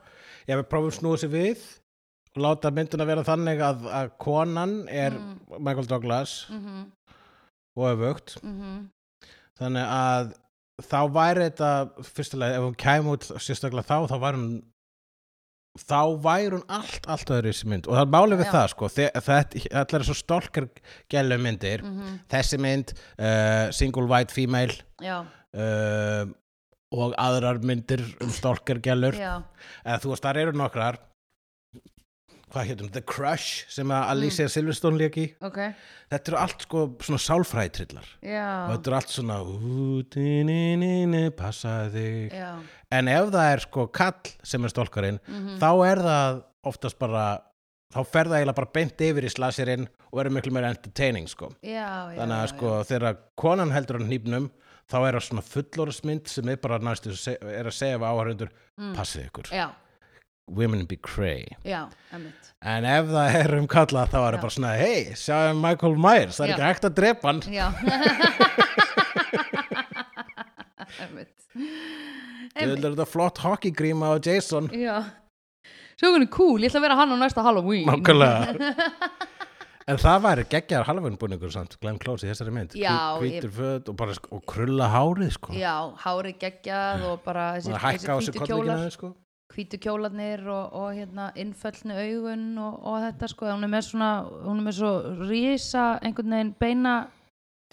Speaker 2: Já, já við prófum snúið sér við og láta myndina vera þannig að, að konan er Michael Douglas
Speaker 1: mm -hmm,
Speaker 2: og öfugt
Speaker 1: Mhm,
Speaker 2: þannig að þá væri þetta fyrstulega, ef hún kæm út sérstaklega þá, þá væri hún þá væri hún allt, allt öðru í þessi mynd og það er málið við
Speaker 1: Já.
Speaker 2: það sko þe- þetta, þetta er svo stólkar gælu myndir
Speaker 1: Mm. mhm.
Speaker 2: þessi mynd, uh, single white female
Speaker 1: já,
Speaker 2: uh, og aðrar myndir um stalkergælur
Speaker 1: já,
Speaker 2: eða þú veist, þar eru nokkrar hvað hétum, The Crush sem
Speaker 1: Mm.
Speaker 2: að Alicia Silverstone lék í
Speaker 1: ok
Speaker 2: þetta eru allt sko svona sálfræðitrillar
Speaker 1: já,
Speaker 2: og þetta eru allt svona útinininu, passaði þig
Speaker 1: já,
Speaker 2: en ef það er sko kall sem er stalkerinn
Speaker 1: mhm,
Speaker 2: þá er það oftast bara þá fer það eiginlega bara beint yfir í slasirinn og er miklu meira entertaining sko
Speaker 1: já, já
Speaker 2: þannig að
Speaker 1: já,
Speaker 2: sko þegar konan heldur á hnýpnum þá er það svona fullorðsmynd sem er bara næstu er að segja við áhörundur
Speaker 1: Mm.
Speaker 2: passið ykkur,
Speaker 1: já,
Speaker 2: women be cray
Speaker 1: já, emmitt
Speaker 2: en ef það er um kalla þá er
Speaker 1: Já.
Speaker 2: það bara svona hei, sjáum Michael Myers, það er
Speaker 1: Já.
Speaker 2: ekki hægt að drepa hann
Speaker 1: já emmitt
Speaker 2: Þú
Speaker 1: emmitt,
Speaker 2: heldur þetta flott hockeygríma á Jason
Speaker 1: já svo hann er cool, ég ætla að vera hann á næsta Halloween
Speaker 2: nákvæmlega en það væri geggjar halvunbúningur samt, Glenn Close í þessari mynd
Speaker 1: Já,
Speaker 2: Hvít- hvítur föt og bara sk- og krulla hárið sko
Speaker 1: já, hári geggjað og bara þessi,
Speaker 2: og hækka á þessu
Speaker 1: hvítu kjólar
Speaker 2: kollvíkina sko
Speaker 1: hvítu kjólarnir og, og hérna innföllni augun og, og þetta sko hún er með svona, hún er með svo rísa einhvern veginn beina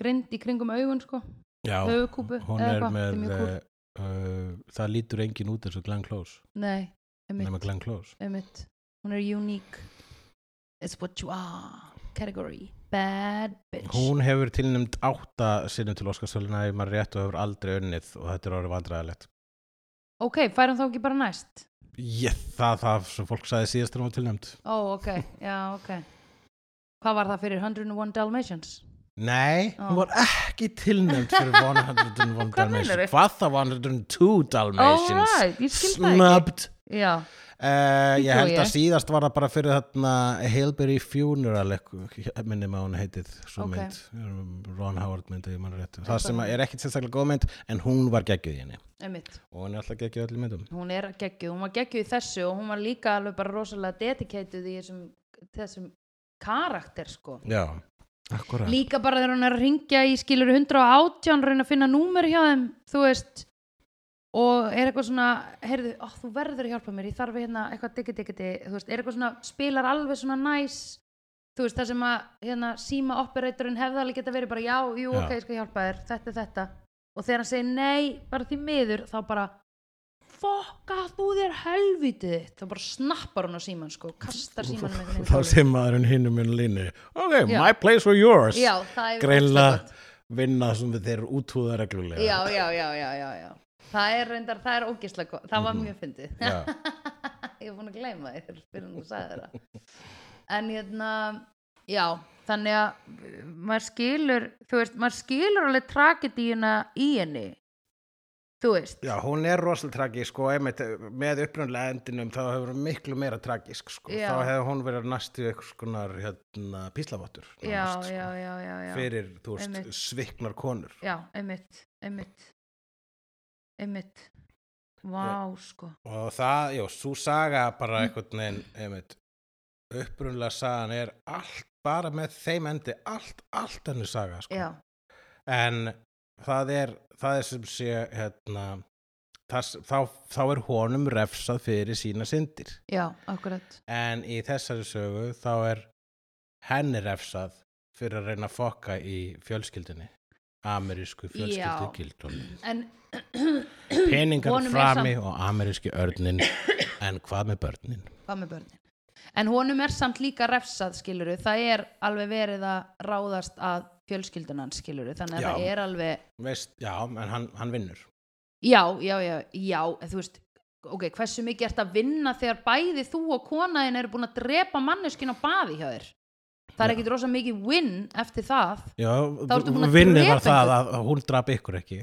Speaker 1: grind í kringum augun sko
Speaker 2: Já,
Speaker 1: höfukúpu
Speaker 2: hún er
Speaker 1: eða eitthvað, þetta er
Speaker 2: með
Speaker 1: mjög kúl.
Speaker 2: eh, uh, það lítur engin út eins og Glenn Close
Speaker 1: nei,
Speaker 2: nema
Speaker 1: emitt,
Speaker 2: Glenn Close
Speaker 1: emitt hún er unique it's what you are category, bad bitch
Speaker 2: hún hefur tilnæmt átta sinnum til Óskarsvölina ef maður er rétt og hefur aldrei unnið og þetta er orðið vandræðalegt
Speaker 1: ok, fær hún þá ekki bara næst
Speaker 2: ég, það, það sem fólk sagði síðast þegar hún var tilnæmt
Speaker 1: ó, ok, já, ok hvað var það fyrir 101 Dalmatians?
Speaker 2: Nei, hún var ekki tilnæmt fyrir 101
Speaker 1: Hvað meinarðu?
Speaker 2: Dalmatians Hvað þá 102 Dalmatians
Speaker 1: Alright, ég skil það ekki.
Speaker 2: Snubbed
Speaker 1: já,
Speaker 2: Uh, ég
Speaker 1: Bíddu,
Speaker 2: held að
Speaker 1: ég.
Speaker 2: síðast var það bara fyrir þarna Hailberry Funeral eitthvað- minnum að hún heitið svo
Speaker 1: Ok.
Speaker 2: mynd, Um, Ron Howard myndi ég mann rétt það sem er ekkit sérstaklega góð mynd en hún var geggjuð í henni
Speaker 1: einmitt
Speaker 2: og hún er alltaf geggjuð í öllum myndum
Speaker 1: hún er geggjuð, hún var geggjuð í þessu og hún var líka alveg bara rosalega dedicated í þessum, þessum karakter sko
Speaker 2: Já, akkurat
Speaker 1: líka bara þegar hún er að ringja í skilur 118, reyna að finna númer hjá þeim þú veist og er eitthvað svona, heyrðu, ó, þú verður að hjálpa mér ég þarf hérna eitthvað diggi diggi diggi þú veist, er eitthvað svona, spilar alveg svona næs þú veist, það sem að hérna, síma operatorinn hefði alveg geta verið bara já, jú,
Speaker 2: Já.
Speaker 1: ok, ég skal hjálpa þér, þetta er þetta og þegar hann segir nei, bara því miður þá bara, fokka þú þér helvítið þitt þá bara snappar hún á síman, sko, kastar símanum einhvern veginn
Speaker 2: Þá
Speaker 1: í gólfið.
Speaker 2: sé maðurinn hinnum minn línu Ok,
Speaker 1: Já.
Speaker 2: my place or yours
Speaker 1: já, það er
Speaker 2: Greinlega vinna sem við þeir útúða reglulega
Speaker 1: já, já, já, já, já, já. Það er reyndar, það er ógislega gott. Það var mjög fyndið.
Speaker 2: Mhm. Já.
Speaker 1: ég er búin að gleyma þér fyrir hún að sagði það. En hérna, já, þannig að uh, maður skilur, þú veist, maður skilur alveg tragedíuna í henni. Þú veist,
Speaker 2: Já, hún er rosalega tragísk og einmitt eh, með upprunlega endinum þá hefur hún miklu meira tragísk sko.
Speaker 1: Já.
Speaker 2: þá hefur hún verið næstu einhvers konar hérna, píslavottur
Speaker 1: já,
Speaker 2: nánast, sko,
Speaker 1: já, já, já, já.
Speaker 2: fyrir, þú veist,
Speaker 1: Einmitt.
Speaker 2: sviknar konur
Speaker 1: Já, einmitt, einmitt, einmitt. Vá, sko.
Speaker 2: og það, já, svo saga bara
Speaker 1: Mm.
Speaker 2: einhvern veginn, einmitt upprunlega sagan er allt bara með þeim endi, allt, allt hennu saga, sko,
Speaker 1: Já,
Speaker 2: en það er, það er sem sé hérna, það, þá, þá er honum refsað fyrir sína syndir
Speaker 1: já, akkurat.
Speaker 2: en í þessari sögu þá er henni refsað fyrir að reyna að fokka í fjölskyldinni amerísku
Speaker 1: Já.
Speaker 2: fjölskyldugildunni
Speaker 1: En
Speaker 2: peningar
Speaker 1: Honum er
Speaker 2: frami og ameríski örnin en hvað með börnin
Speaker 1: hvað með börnin en honum er samt líka refsað skiluru það er alveg verið að ráðast að fjölskyldunan skiluru þannig að
Speaker 2: Já.
Speaker 1: það er alveg
Speaker 2: Veist, já, en hann, hann vinnur
Speaker 1: já, já, já, já, en þú veist ok, hversu mikið ert að vinna þegar bæði þú og konaðin eru búin að drepa manneskinn á baði hjá þér það er
Speaker 2: Já.
Speaker 1: ekkit rosa mikið win eftir það
Speaker 2: já,
Speaker 1: ertu búin að
Speaker 2: vinnur
Speaker 1: drepa
Speaker 2: var það að að hún draf ykkur ekki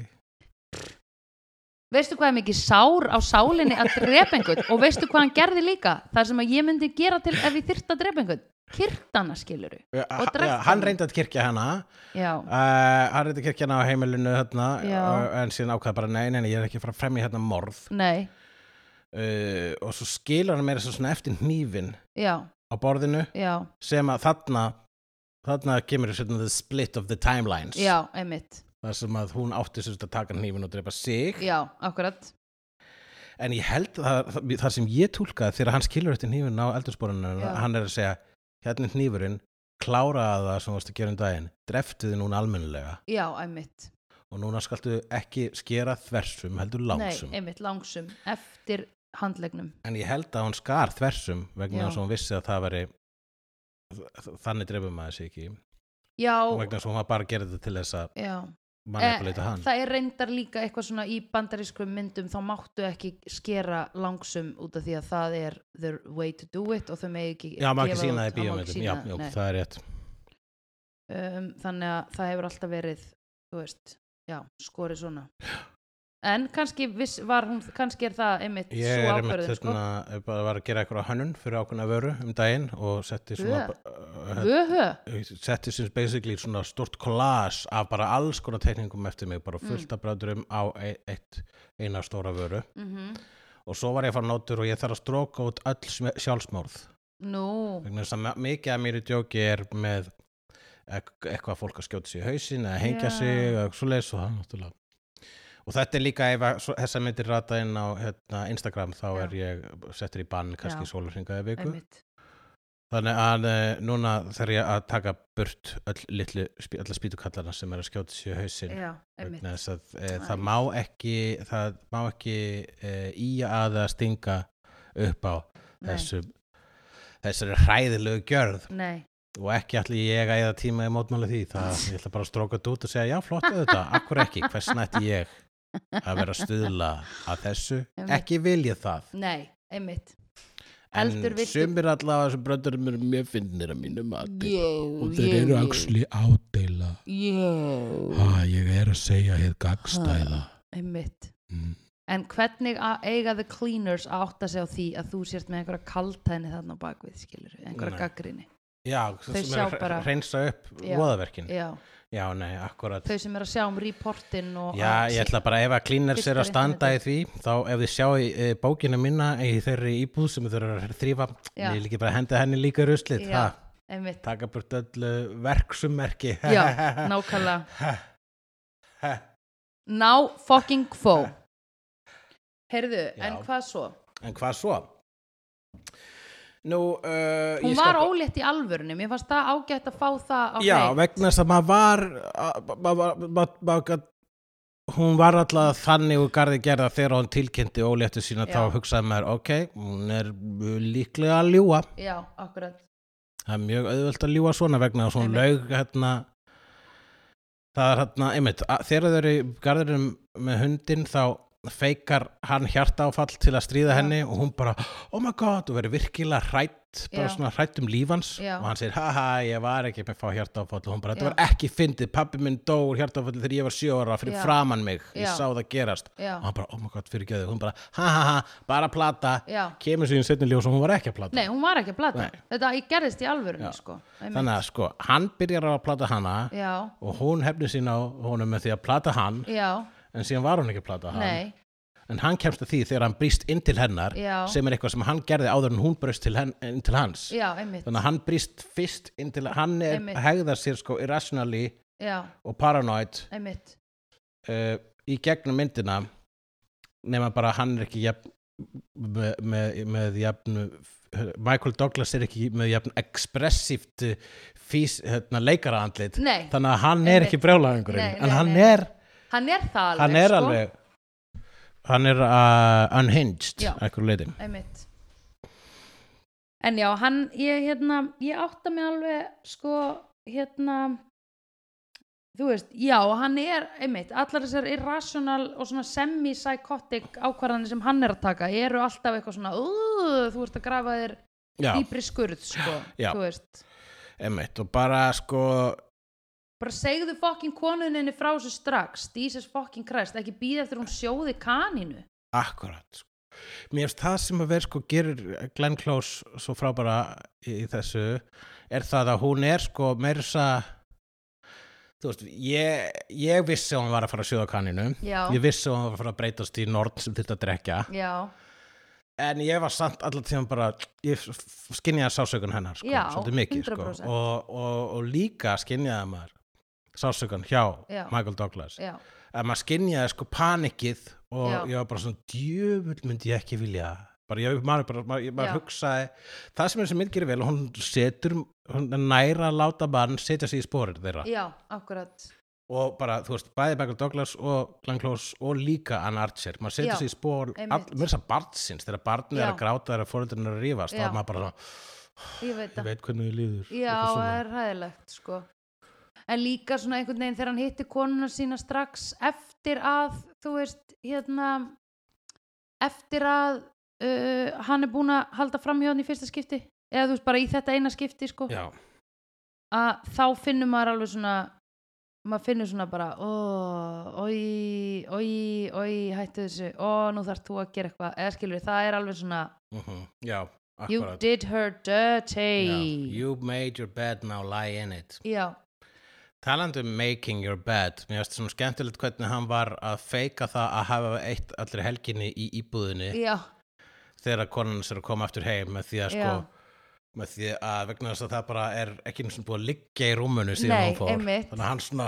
Speaker 1: veistu hvað er mikið sár á sálinni að drepa einhvern og veistu hvað hann gerði líka það sem að ég myndi gera til ef ég þyrft að drepa einhvern kyrtana skiluru
Speaker 2: Já,
Speaker 1: Og
Speaker 2: ha-
Speaker 1: drepti
Speaker 2: já, hann
Speaker 1: hann.
Speaker 2: reyndi að kirkja hana
Speaker 1: já,
Speaker 2: uh, hann reyndi að kirkja hana á heimilinu þarna,
Speaker 1: Já.
Speaker 2: uh, en síðan ákvað bara nei, nei, nei, ég er ekki að fara að fremja hérna morð
Speaker 1: nei,
Speaker 2: uh, og svo skilur hann meira svo svona eftir hnífin
Speaker 1: já,
Speaker 2: á borðinu
Speaker 1: já
Speaker 2: sem að þarna þarna kemur svona the split of the timelines
Speaker 1: Já, einmitt,
Speaker 2: þar sem að hún átti sér að taka hnífin og drepa sig
Speaker 1: já, akkurat
Speaker 2: en ég held að það, það sem ég túlkaði þegar hann skilur eftir hnífin á eldursporinu
Speaker 1: Já.
Speaker 2: hann er að segja, hérna er hnífurinn kláraði það sem þú varst að gera um daginn dreftu þið núna almennilega
Speaker 1: Já, einmitt,
Speaker 2: og núna skaltu ekki skera þversum heldur langsum
Speaker 1: nei, einmitt, langsum Eftir handlegnum
Speaker 2: en ég held að hún skar þversum
Speaker 1: Já.
Speaker 2: vegna þess að hún vissi að það veri þannig drefum maður sig ekki
Speaker 1: Já,
Speaker 2: og vegna þess að hún var bara að gera þetta til þess að
Speaker 1: já
Speaker 2: manipuleita Oh hann
Speaker 1: Eh, Það er reyndar líka eitthvað svona í bandarískum myndum þá máttu ekki skera langsum út af því að það er the way to do it og þau megi ekki
Speaker 2: Já, maður ekki
Speaker 1: gefa
Speaker 2: sína það í
Speaker 1: út- það má ekki
Speaker 2: bíómyndum, já,
Speaker 1: sýna-
Speaker 2: já,
Speaker 1: nei.
Speaker 2: það er rétt.
Speaker 1: um, þannig að það hefur alltaf verið þú veist, já, skorið svona en kannski viss, var hún kannski er það einmitt
Speaker 2: Ég
Speaker 1: svo
Speaker 2: er einmitt
Speaker 1: ákvörðin sko.
Speaker 2: þessna, ég bara var að gera eitthvað hönnun fyrir ákveðna vöru um daginn og setti svona, uh,
Speaker 1: Vöhö,
Speaker 2: setti sem basically svona stort collage af bara alls konar tekningum eftir mig, bara fullt af bræðurum á e- eitt, eina stóra vöru.
Speaker 1: mm
Speaker 2: Og svo var ég að fara nótur og ég þarf að stróka út öll sm- sjálfsmorð.
Speaker 1: nú
Speaker 2: Vegna þess að ma- mikið af mér í djóki er með ek- eitthvað fólk að skjóta sig í hausin eða hengja
Speaker 1: Já.
Speaker 2: sig eða svo leis og það náttúrulega og þetta er líka ef að svo- þessar myndir rata inn á hérna, Instagram þá
Speaker 1: Já.
Speaker 2: er ég settur í bann kannski
Speaker 1: Já.
Speaker 2: sólarhinga eða viku
Speaker 1: einmitt
Speaker 2: þannig að e, núna þarf ég að taka burt öll litlu, spí- alla spýtukallana sem er að skjóta sig í hausin
Speaker 1: Já, einmitt.
Speaker 2: vegna þess að e,
Speaker 1: Æ.
Speaker 2: það má ekki það má ekki e, í að að stinga upp á
Speaker 1: Nei,
Speaker 2: þessu þessari hræðilegu gjörð
Speaker 1: nei.
Speaker 2: og ekki ætli ég að eða tíma í mótmála því það, ég ætla bara að stróka þetta út og segja já, flott þetta, akkur ekki, hvers nætti ég að vera að stuðla að þessu
Speaker 1: Einmitt.
Speaker 2: ekki vil ég það,
Speaker 1: nei, einmitt Heldur
Speaker 2: en
Speaker 1: viltu-
Speaker 2: sumir allavega sem bröndurum eru mjög finnir að mínu mati
Speaker 1: Jú,
Speaker 2: og þeir eru axli ádeila
Speaker 1: Jú,
Speaker 2: ha, ég er að segja hér gagstæða
Speaker 1: einmitt
Speaker 2: mm.
Speaker 1: En hvernig að eiga the cleaners að átta sig á því að þú sért með einhverja kaltæðni þarna á bakvið, skilur, einhverja
Speaker 2: Nei.
Speaker 1: gaggrinni.
Speaker 2: já,
Speaker 1: Þau
Speaker 2: þau sem
Speaker 1: sjá
Speaker 2: er
Speaker 1: bara-
Speaker 2: að reynsa upp
Speaker 1: Já.
Speaker 2: voðaverkin
Speaker 1: Já,
Speaker 2: já, nei, akkurat
Speaker 1: þau sem eru að sjá um reportin og...
Speaker 2: Já, ég ætla bara ef að cleaners er að
Speaker 1: Fyrsta
Speaker 2: standa í því þá ef þið sjá í e, bókina minna í þeirri íbúð sem þau eru að þrýfa
Speaker 1: Já.
Speaker 2: ég líki bara að henda henni líka ruslið
Speaker 1: Já.
Speaker 2: ha,
Speaker 1: Einmitt,
Speaker 2: taka burt öllu verksummerki
Speaker 1: já, nákvæmlega.
Speaker 2: Ha.
Speaker 1: Ná fucking kvó. Heyrðu, en
Speaker 2: Já.
Speaker 1: hvað svo?
Speaker 2: En hvað svo? Nú, uh,
Speaker 1: Hún
Speaker 2: ég
Speaker 1: var
Speaker 2: skal-
Speaker 1: ólétt í alvörunni, mér fannst það ágætt að fá það á
Speaker 2: Já,
Speaker 1: hreint.
Speaker 2: vegna þess að maður var að- maður var- maður- maður gat- hún var alltaf þannig og garði gerða þegar hún tilkynnti óléttu sína
Speaker 1: Já.
Speaker 2: þá hugsaði maður, ok, hún er líklega að ljúa
Speaker 1: Já, akkurat.
Speaker 2: það er mjög auðvöld að ljúa svona vegna og svona laug hérna það er hérna, einmitt, að- þegar þau eru í garðurum með hundin þá feikar hann hjartáfall til að stríða
Speaker 1: Já.
Speaker 2: henni og hún bara, oh my god, og verður virkilega hrætt bara
Speaker 1: Já.
Speaker 2: svona hrætt um lífans
Speaker 1: Já.
Speaker 2: og hann segir, haha, ég var ekki með að fá hjartáfall og hún bara,
Speaker 1: Já.
Speaker 2: þetta var ekki fyndið, pappi minn dó úr hjartáfalli þegar ég var sjö ára fyrir
Speaker 1: Já.
Speaker 2: framan mig, ég
Speaker 1: Já.
Speaker 2: sá það gerast
Speaker 1: Já,
Speaker 2: og hann bara, oh my god, fyrir geðu, hún bara, haha, bara plata
Speaker 1: já.
Speaker 2: kemur sér í setni ljós og hún var ekki að plata
Speaker 1: Nei, hún var ekki að blata.
Speaker 2: Nei.
Speaker 1: Þetta ég gerðist í alvörunni, sko. Einmitt.
Speaker 2: Þannig að sko, hann byrjar á að plata hana
Speaker 1: Já,
Speaker 2: og hún hefnir sín á honum með því að plata hann
Speaker 1: já,
Speaker 2: en síðan var hún ekki að plata hann
Speaker 1: nei,
Speaker 2: en hann kemst að því þegar hann brýst inn til hennar
Speaker 1: Já.
Speaker 2: sem er eitthvað sem hann gerði áður en hún brýst til henn, inn til hans
Speaker 1: já, einmitt.
Speaker 2: þannig að hann brýst fyrst inn til hann er,
Speaker 1: Einmitt.
Speaker 2: hegðar sér sko irrationally
Speaker 1: Já,
Speaker 2: og paranoid
Speaker 1: einmitt.
Speaker 2: uh, í gegnum myndina nema bara hann er ekki jafn með, með, með jafn Michael Douglas er ekki með jafn ekspressíft eh, fís, hérna, leikaraandlit
Speaker 1: Nei,
Speaker 2: þannig að hann er
Speaker 1: Einmitt.
Speaker 2: ekki brjálæðingurinn
Speaker 1: Nei,
Speaker 2: en
Speaker 1: nei,
Speaker 2: hann
Speaker 1: nei.
Speaker 2: er,
Speaker 1: hann er það alveg,
Speaker 2: hann er
Speaker 1: sko.
Speaker 2: alveg hann er uh, unhinged
Speaker 1: Já.
Speaker 2: ekkur leiti
Speaker 1: Einmitt. En já, hann, ég, hérna, ég átta mig alveg, sko, hérna, þú veist, já, hann er, einmitt, allar þessar irrational og svona semi-psychotic ákvarðanir sem hann er að taka eru alltaf eitthvað svona, "Ú, þú ert að grafa þér
Speaker 2: já,
Speaker 1: dýpri skurð, sko,
Speaker 2: Já.
Speaker 1: þú veist.
Speaker 2: emmitt og bara sko
Speaker 1: bara segðu fokkin konuninni frá þessu strax Jesus fokkin Christ, ekki býða eftir hún sjóði kaninu
Speaker 2: akkurat sko. mér finnst það sem að vera sko gerir Glenn Close svo frábara í, í þessu er það að hún er sko meira þess að þú veist, ég, ég vissi að hún var að fara að sjóða kanninu
Speaker 1: já,
Speaker 2: ég vissi að hún var að fara að breytast í norn sem þurfti að drekja
Speaker 1: já,
Speaker 2: en ég var samt allan tíma bara ég skinjaði sásökun hennar sko,
Speaker 1: Já,
Speaker 2: svolítið mikið sko.
Speaker 1: 100%.
Speaker 2: og, og, og líka skinjaði maður sásökun hjá
Speaker 1: Já.
Speaker 2: Michael Douglas
Speaker 1: já,
Speaker 2: að maður skinjaði sko panikið og
Speaker 1: Já.
Speaker 2: ég var bara svona djöfull myndi ég ekki vilja bara ég maður, bara, maður, ég-
Speaker 1: Já.
Speaker 2: maður hugsaði það sem er sem mynd gerir vel hún setur, hún er næra að láta mann setja sig í spórir þeirra
Speaker 1: já, akkurat
Speaker 2: og bara, þú veist, bæði Michael Douglas og Glenn Close og líka Ann Archer maður
Speaker 1: Já,
Speaker 2: setur sig í spór,
Speaker 1: einmitt.
Speaker 2: mér þess að barnsins þegar barnið er að
Speaker 1: Já.
Speaker 2: gráta þegar fóreldurinn er að rífast, þá
Speaker 1: Já.
Speaker 2: er maður bara svona,
Speaker 1: ég veit
Speaker 2: ég
Speaker 1: það,
Speaker 2: veit hvernig þið líður
Speaker 1: já,
Speaker 2: eitthvað
Speaker 1: það
Speaker 2: svona.
Speaker 1: er hæðilegt sko en líka svona einhvern veginn þegar hann hitti konuna sína strax eftir að, þú veist, hérna eftir að uh, hann er búin að halda fram hjá hann í fyrsta skipti eða þú veist, bara í þetta eina skipti sko
Speaker 2: já,
Speaker 1: að þá finnur maður alveg svona maður finnur svona bara oi, oi, oi hættu þessu, ó, nú þarf þú að gera eitthvað eða skilur, það er alveg svona
Speaker 2: uh já,
Speaker 1: you
Speaker 2: akkurat
Speaker 1: did her
Speaker 2: já,
Speaker 1: dirty
Speaker 2: you made your bed, now lie in it
Speaker 1: já,
Speaker 2: talandi um making your bed mér finnst svona skemmtilegt hvernig hann var að feika það að hafa eitt allir helginni í íbúðinni
Speaker 1: já,
Speaker 2: þegar konan sér að koma aftur heim með því að sko
Speaker 1: já
Speaker 2: með því að vegna þess að það bara er ekki eins og búið að liggja í rúmunu síðan
Speaker 1: Nei,
Speaker 2: hún fór
Speaker 1: einmitt.
Speaker 2: þannig að hann svona,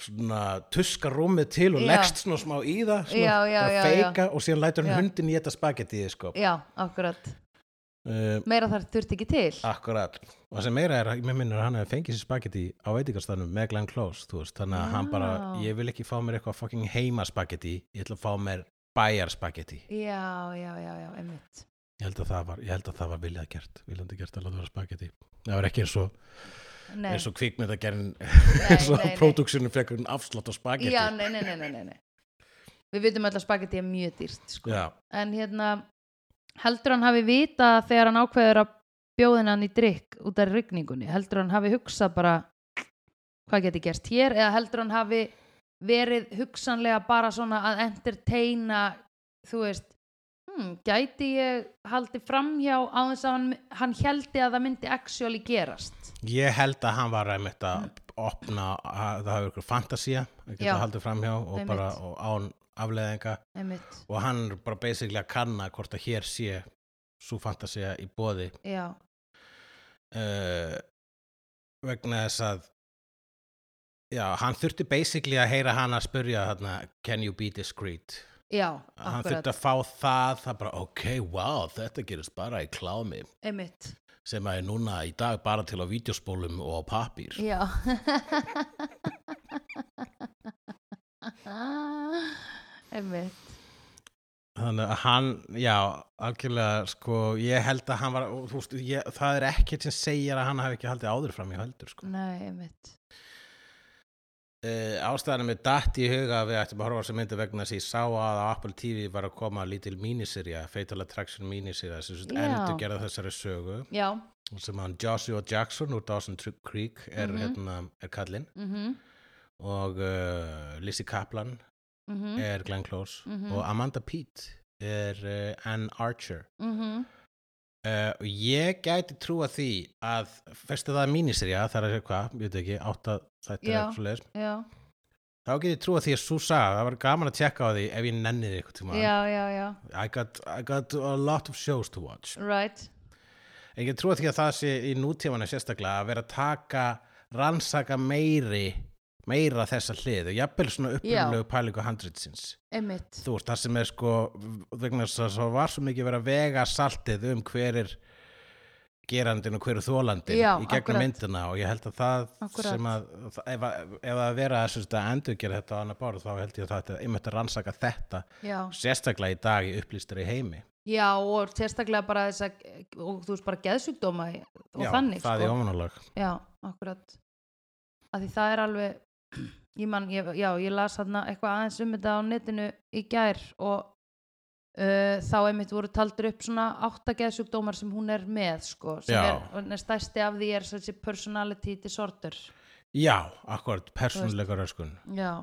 Speaker 2: svona tuskar rúmið til og
Speaker 1: Já.
Speaker 2: leggst svona smá í það svona,
Speaker 1: Já, já,
Speaker 2: bara
Speaker 1: já,
Speaker 2: feika og síðan lætur hann
Speaker 1: Já.
Speaker 2: hundin í þetta spagetti sko.
Speaker 1: já, akkurat
Speaker 2: um,
Speaker 1: meira þar þurft ekki til
Speaker 2: akkurat og það sem meira er, mér minnur að hann hefði fengið sér spagetti á veitingarstæðnum með Glenn Close þú veist, þannig að hann bara,
Speaker 1: Já.
Speaker 2: ég vil ekki fá mér eitthvað fucking heima spagetti, ég ætla að fá mér bæjar spagetti,
Speaker 1: já, já, já, já, einmitt
Speaker 2: ég held að það var ég held að það var viljað gert, viljandi gert að láta vera spagetti, það var ekki eins og
Speaker 1: nei,
Speaker 2: eins og kvikmyndagerinn
Speaker 1: nei,
Speaker 2: eins og
Speaker 1: nei, nei.
Speaker 2: próduksinu fekk hún afslátt á spagetti
Speaker 1: já, nei, nei, nei, nei, nei, nei við vitum öll að spagetti er mjög dýrt sko.
Speaker 2: Já,
Speaker 1: en hérna heldur hann hafi vitað þegar hann ákveður að bjóðin hann í drikk út af rigningunni heldur hann hafi hugsað bara hvað geti gerst hér eða heldur hann hafi verið hugsanlega bara svona að entertaina þú veist hmm, gæti ég haldið framhjá á þess að hann, hann heldi að það myndi actually gerast
Speaker 2: Ég held að hann var einmitt að opna, að það hafi ykkur fantasía að geta
Speaker 1: Já.
Speaker 2: haldið framhjá og
Speaker 1: Einmitt.
Speaker 2: bara og án afleðinga
Speaker 1: einmitt,
Speaker 2: og hann er bara basically að kanna hvort að hér sé svo fantasía í bóði
Speaker 1: já,
Speaker 2: uh, vegna þess að já, hann þurfti basically að heyra hann að spyrja þarna, can you be discreet
Speaker 1: já
Speaker 2: hann þurfti
Speaker 1: akkurat,
Speaker 2: að fá það, það bara ok, wow, þetta gerist bara í klámi
Speaker 1: einmitt
Speaker 2: sem að er núna í dag bara til á vídeospólum og á pappír
Speaker 1: já einmitt
Speaker 2: Þannig að hann, já, algjörlega, sko, ég held að hann var, og þú veist, ég, það er ekkert sem segir að hann hafi ekki haldið áður fram í heldur, sko.
Speaker 1: nei, einmitt
Speaker 2: Uh, ástæðanum er datt í huga að við ættum að horfa á sem myndi vegna þess að ég sá að á Apple TV var að koma lítil míniserja, Fatal Attraction míniserja, sem sem
Speaker 1: Já.
Speaker 2: endur gerða þessari sögu,
Speaker 1: já,
Speaker 2: sem hann Joshua Jackson úr Dawson Creek er,
Speaker 1: Mhm.
Speaker 2: hérna, er kallinn
Speaker 1: mhm,
Speaker 2: og uh, Lizzie Kaplan
Speaker 1: mhm
Speaker 2: er Glenn Close
Speaker 1: Mhm.
Speaker 2: og Amanda Peet er uh, Ann Archer.
Speaker 1: mhm,
Speaker 2: Uh, og ég gæti trúa því að fyrstu það er míniserja, það er hvað, ég veit ekki, átta þættir
Speaker 1: Já.
Speaker 2: eitthvað svo leiðis.
Speaker 1: já,
Speaker 2: Þá gæti ég trúa því að sú saga, það var gaman að tjekka á því ef ég nennið eitthvað tíma.
Speaker 1: já, já, já
Speaker 2: I, got, I got a lot of shows to watch.
Speaker 1: right,
Speaker 2: En ég trúa því að það sé í nútífana sérstaklega að vera að taka, rannsaka meiri, meira þessa hliðu, jafnvel svona upplöfulegu pælingu handritsins.
Speaker 1: einmitt
Speaker 2: þú veist, það sem er sko vegna þess að það var svo mikið verið að vega saltið um hver er gerandin og hver er þólandin
Speaker 1: Já,
Speaker 2: í gegnum
Speaker 1: akkurat.
Speaker 2: myndina og ég held að það
Speaker 1: Akkurat.
Speaker 2: sem að, ef að, ef að vera sem sagt, að endurgera þetta á annar báru þá held ég að þetta, ég mötti að rannsaka þetta
Speaker 1: já,
Speaker 2: sérstaklega í dag í upplýstari heimi
Speaker 1: já og sérstaklega bara þess að og þú veist bara geðsjúkdóma í- og
Speaker 2: Já,
Speaker 1: þannig
Speaker 2: það er
Speaker 1: sko.
Speaker 2: ómanulag
Speaker 1: já, akkurat að því það er alveg ég man, ég, já, ég las þarna eitthvað aðeins um þetta á netinu í gær og uh, þá einmitt voru taldur upp svona átta geðsjúkdómar sem hún er með sko, sem
Speaker 2: Já.
Speaker 1: er, og stærsti af því er þessi personality disorder
Speaker 2: Já, akkurat, persónuleika röskun
Speaker 1: já,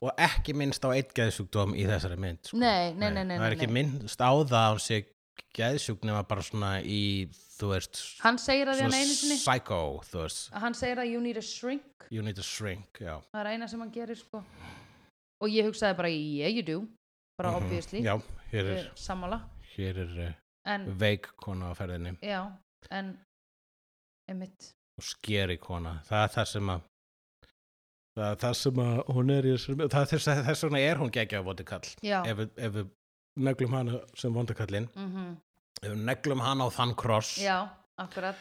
Speaker 2: og ekki minnst á eitt geðsjúkdóm í þessari mynd sko.
Speaker 1: Nei, nei, nei, nei,
Speaker 2: það er
Speaker 1: nei,
Speaker 2: ekki
Speaker 1: nei.
Speaker 2: minnst á það að hún sé geðsjúk nema bara svona í, þú veist
Speaker 1: hann segir að því hann
Speaker 2: svona
Speaker 1: einu sinni
Speaker 2: psycho, þú veist
Speaker 1: að hann segir að you need a shrink
Speaker 2: you need to shrink, já
Speaker 1: það er eina sem hann gerir sko og ég hugsaði bara yeah you do bara
Speaker 2: Mhm.
Speaker 1: obviously
Speaker 2: já, hér
Speaker 1: Ég
Speaker 2: er,
Speaker 1: er Mm. sammála
Speaker 2: hér er uh,
Speaker 1: en
Speaker 2: veik kona á ferðinni
Speaker 1: já en einmitt
Speaker 2: og skeri kona, það er það sem að það er það sem að hún er í þessum, það er þess að þess vegna er hún geggja á vondukall
Speaker 1: já
Speaker 2: ef, við- ef við neglum hana sem vondukallin
Speaker 1: mm
Speaker 2: ef við neglum hana á þann kross
Speaker 1: já akkurat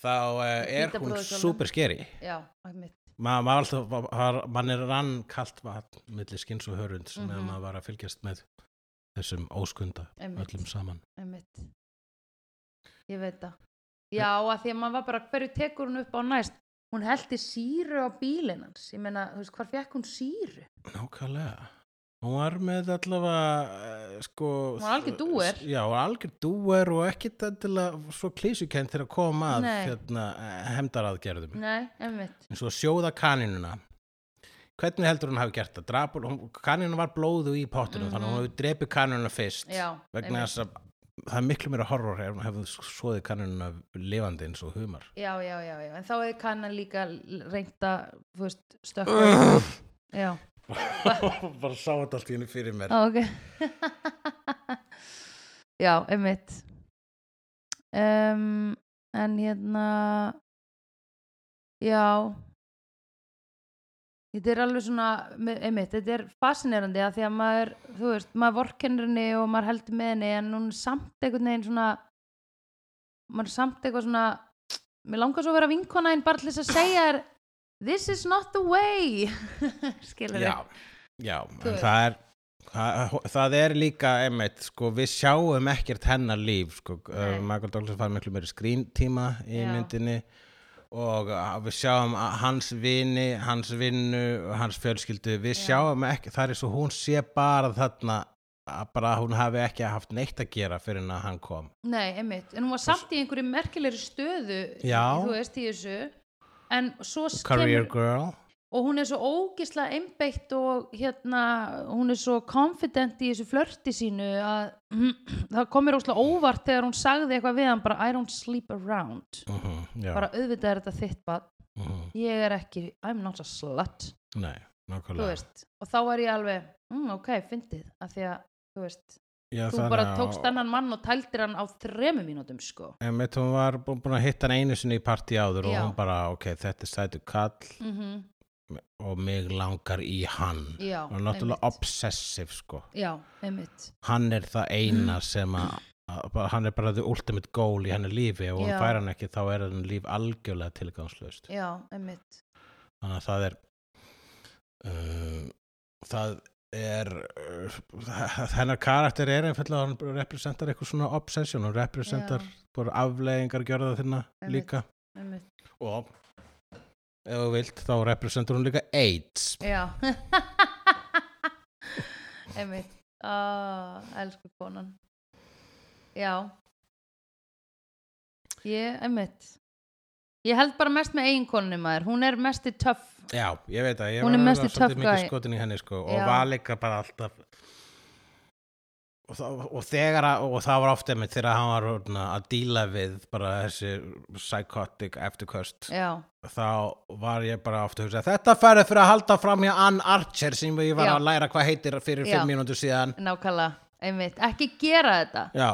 Speaker 2: þá uh, er
Speaker 1: Hvíta
Speaker 2: hún
Speaker 1: brúðkjólnum.
Speaker 2: super skeri
Speaker 1: já einmitt
Speaker 2: Ma, maður alltaf, ma- maður- mann er rann kalt vatn milli skinns og hörund sem mm
Speaker 1: Mhm.
Speaker 2: maður var að fylgjast með þessum óskunda
Speaker 1: Einmitt.
Speaker 2: öllum saman
Speaker 1: einmitt ég veit það já að því að maður var bara hverju tekur hún upp á næst hún heldi síru á bílinn hans ég meina þú veist hvar fekk hún síru
Speaker 2: Nákvæmlega Hún var með allavega eh, sko,
Speaker 1: Hún var algjör dúer.
Speaker 2: Já, hún var algjör dúer og ekkit endilega svo klísukent þegar að koma að
Speaker 1: Nei.
Speaker 2: hérna, hemdaraðgerðum
Speaker 1: nei einmitt
Speaker 2: eins og að sjóða kaninuna Hvernig heldur hún hafi gert það? Drapul, hún, kaninu var blóðu í pottinu þannig að hún hefði drepið kaninuna fyrst
Speaker 1: Mhm. já
Speaker 2: vegna
Speaker 1: einmitt.
Speaker 2: þess að það er miklu meira horror ef hún hefði svoðið kaninuna lifandi eins og humar
Speaker 1: já, já, já, já, en þá hefði kannan líka reynda, þú veist, stökka
Speaker 2: Ugh.
Speaker 1: já,
Speaker 2: Bara sá þetta allt í henni fyrir mér
Speaker 1: á, ok já, einmitt um, en hérna já þetta er alveg svona me- einmitt, þetta er fascinerandi að því að maður, þú veist, maður vorkennir henni og maður heldur með henni en hún er samt einhvern veginn svona maður er samt eitthvað svona mér langar svo að vera vinkona en bara til þess að segja er this is not the way skilur
Speaker 2: já, já
Speaker 1: Þú
Speaker 2: en
Speaker 1: veist.
Speaker 2: það er það, það er líka einmitt, sko, við sjáum ekkert hennar líf sko, uh,
Speaker 1: Nei.
Speaker 2: Michael Douglas fær miklu meiri skríntíma í
Speaker 1: Já.
Speaker 2: myndinni og uh, við sjáum að hans vini hans vinnu, hans fjölskyldu við
Speaker 1: Já.
Speaker 2: sjáum ekki, það er svo hún sé bara þarna að bara hún hafi ekki haft neitt að gera fyrir en að hann kom
Speaker 1: Nei, einmitt, en hún var samt í einhverju merkilegri stöðu
Speaker 2: Já.
Speaker 1: þú veist, í þessu en svo
Speaker 2: Career
Speaker 1: kemur-
Speaker 2: Girl
Speaker 1: og hún er svo ógisla einbeitt og hérna, hún er svo confident í þessu flörti sínu að það komir ósla óvart þegar hún sagði eitthvað við hann bara I don't sleep around
Speaker 2: uh Já,
Speaker 1: bara auðvitað er þetta þitt bad
Speaker 2: uh
Speaker 1: ég er ekki, I'm not a slut
Speaker 2: nei,
Speaker 1: þú
Speaker 2: nákvæmlega
Speaker 1: veist, og þá var ég alveg mm, ok, fyndið, af því að þú veist,
Speaker 2: Já,
Speaker 1: þú
Speaker 2: þannig
Speaker 1: bara
Speaker 2: að-
Speaker 1: tókst annan mann og tældir hann á þremu mínútum sko
Speaker 2: Einmitt, hún var bú- búin að hitta hann einu sinni í partí áður
Speaker 1: Já.
Speaker 2: og hún bara, ok, þetta er sætu kall
Speaker 1: mm
Speaker 2: og mig langar í hann
Speaker 1: já,
Speaker 2: og náttúrulega
Speaker 1: einmitt.
Speaker 2: obsessiv sko
Speaker 1: já, einmitt
Speaker 2: hann er það
Speaker 1: Mm.
Speaker 2: eina sem að að bara- hann er bara the ultimate goal í hennar lífi og
Speaker 1: Já.
Speaker 2: hún fær hann ekki þá er hann líf algjörlega tilgangslaust
Speaker 1: já, einmitt,
Speaker 2: þannig að það er um, það er uh, hennar karakter er einfallega að hann representar eitthvað svona obsession og representar bara afleðingar gjörða þarna
Speaker 1: Einmitt.
Speaker 2: líka
Speaker 1: einmitt
Speaker 2: og ef þú vilt þá representar hún líka AIDS
Speaker 1: já einmitt ah, elsku konan já ég, einmitt ég held bara mest með eiginkonni maður hún er mest í töff
Speaker 2: Já, ég veit að ég
Speaker 1: Hún er
Speaker 2: var
Speaker 1: mesti
Speaker 2: alveg svolítið
Speaker 1: tough
Speaker 2: mikið
Speaker 1: guy.
Speaker 2: skotin í henni sko og
Speaker 1: Já.
Speaker 2: var líka bara alltaf og, þá, og þegar að, og það var ofta með þegar hann var orðna, að díla við bara þessi psychotic eftirköst
Speaker 1: já,
Speaker 2: þá var ég bara ofta að hugsa þetta færið fyrir að halda fram hjá Ann Archer sem ég var
Speaker 1: Já.
Speaker 2: að læra hvað heitir fyrir
Speaker 1: Já.
Speaker 2: fimm mínútur síðan
Speaker 1: nákvæmlega, einmitt ekki gera þetta
Speaker 2: Já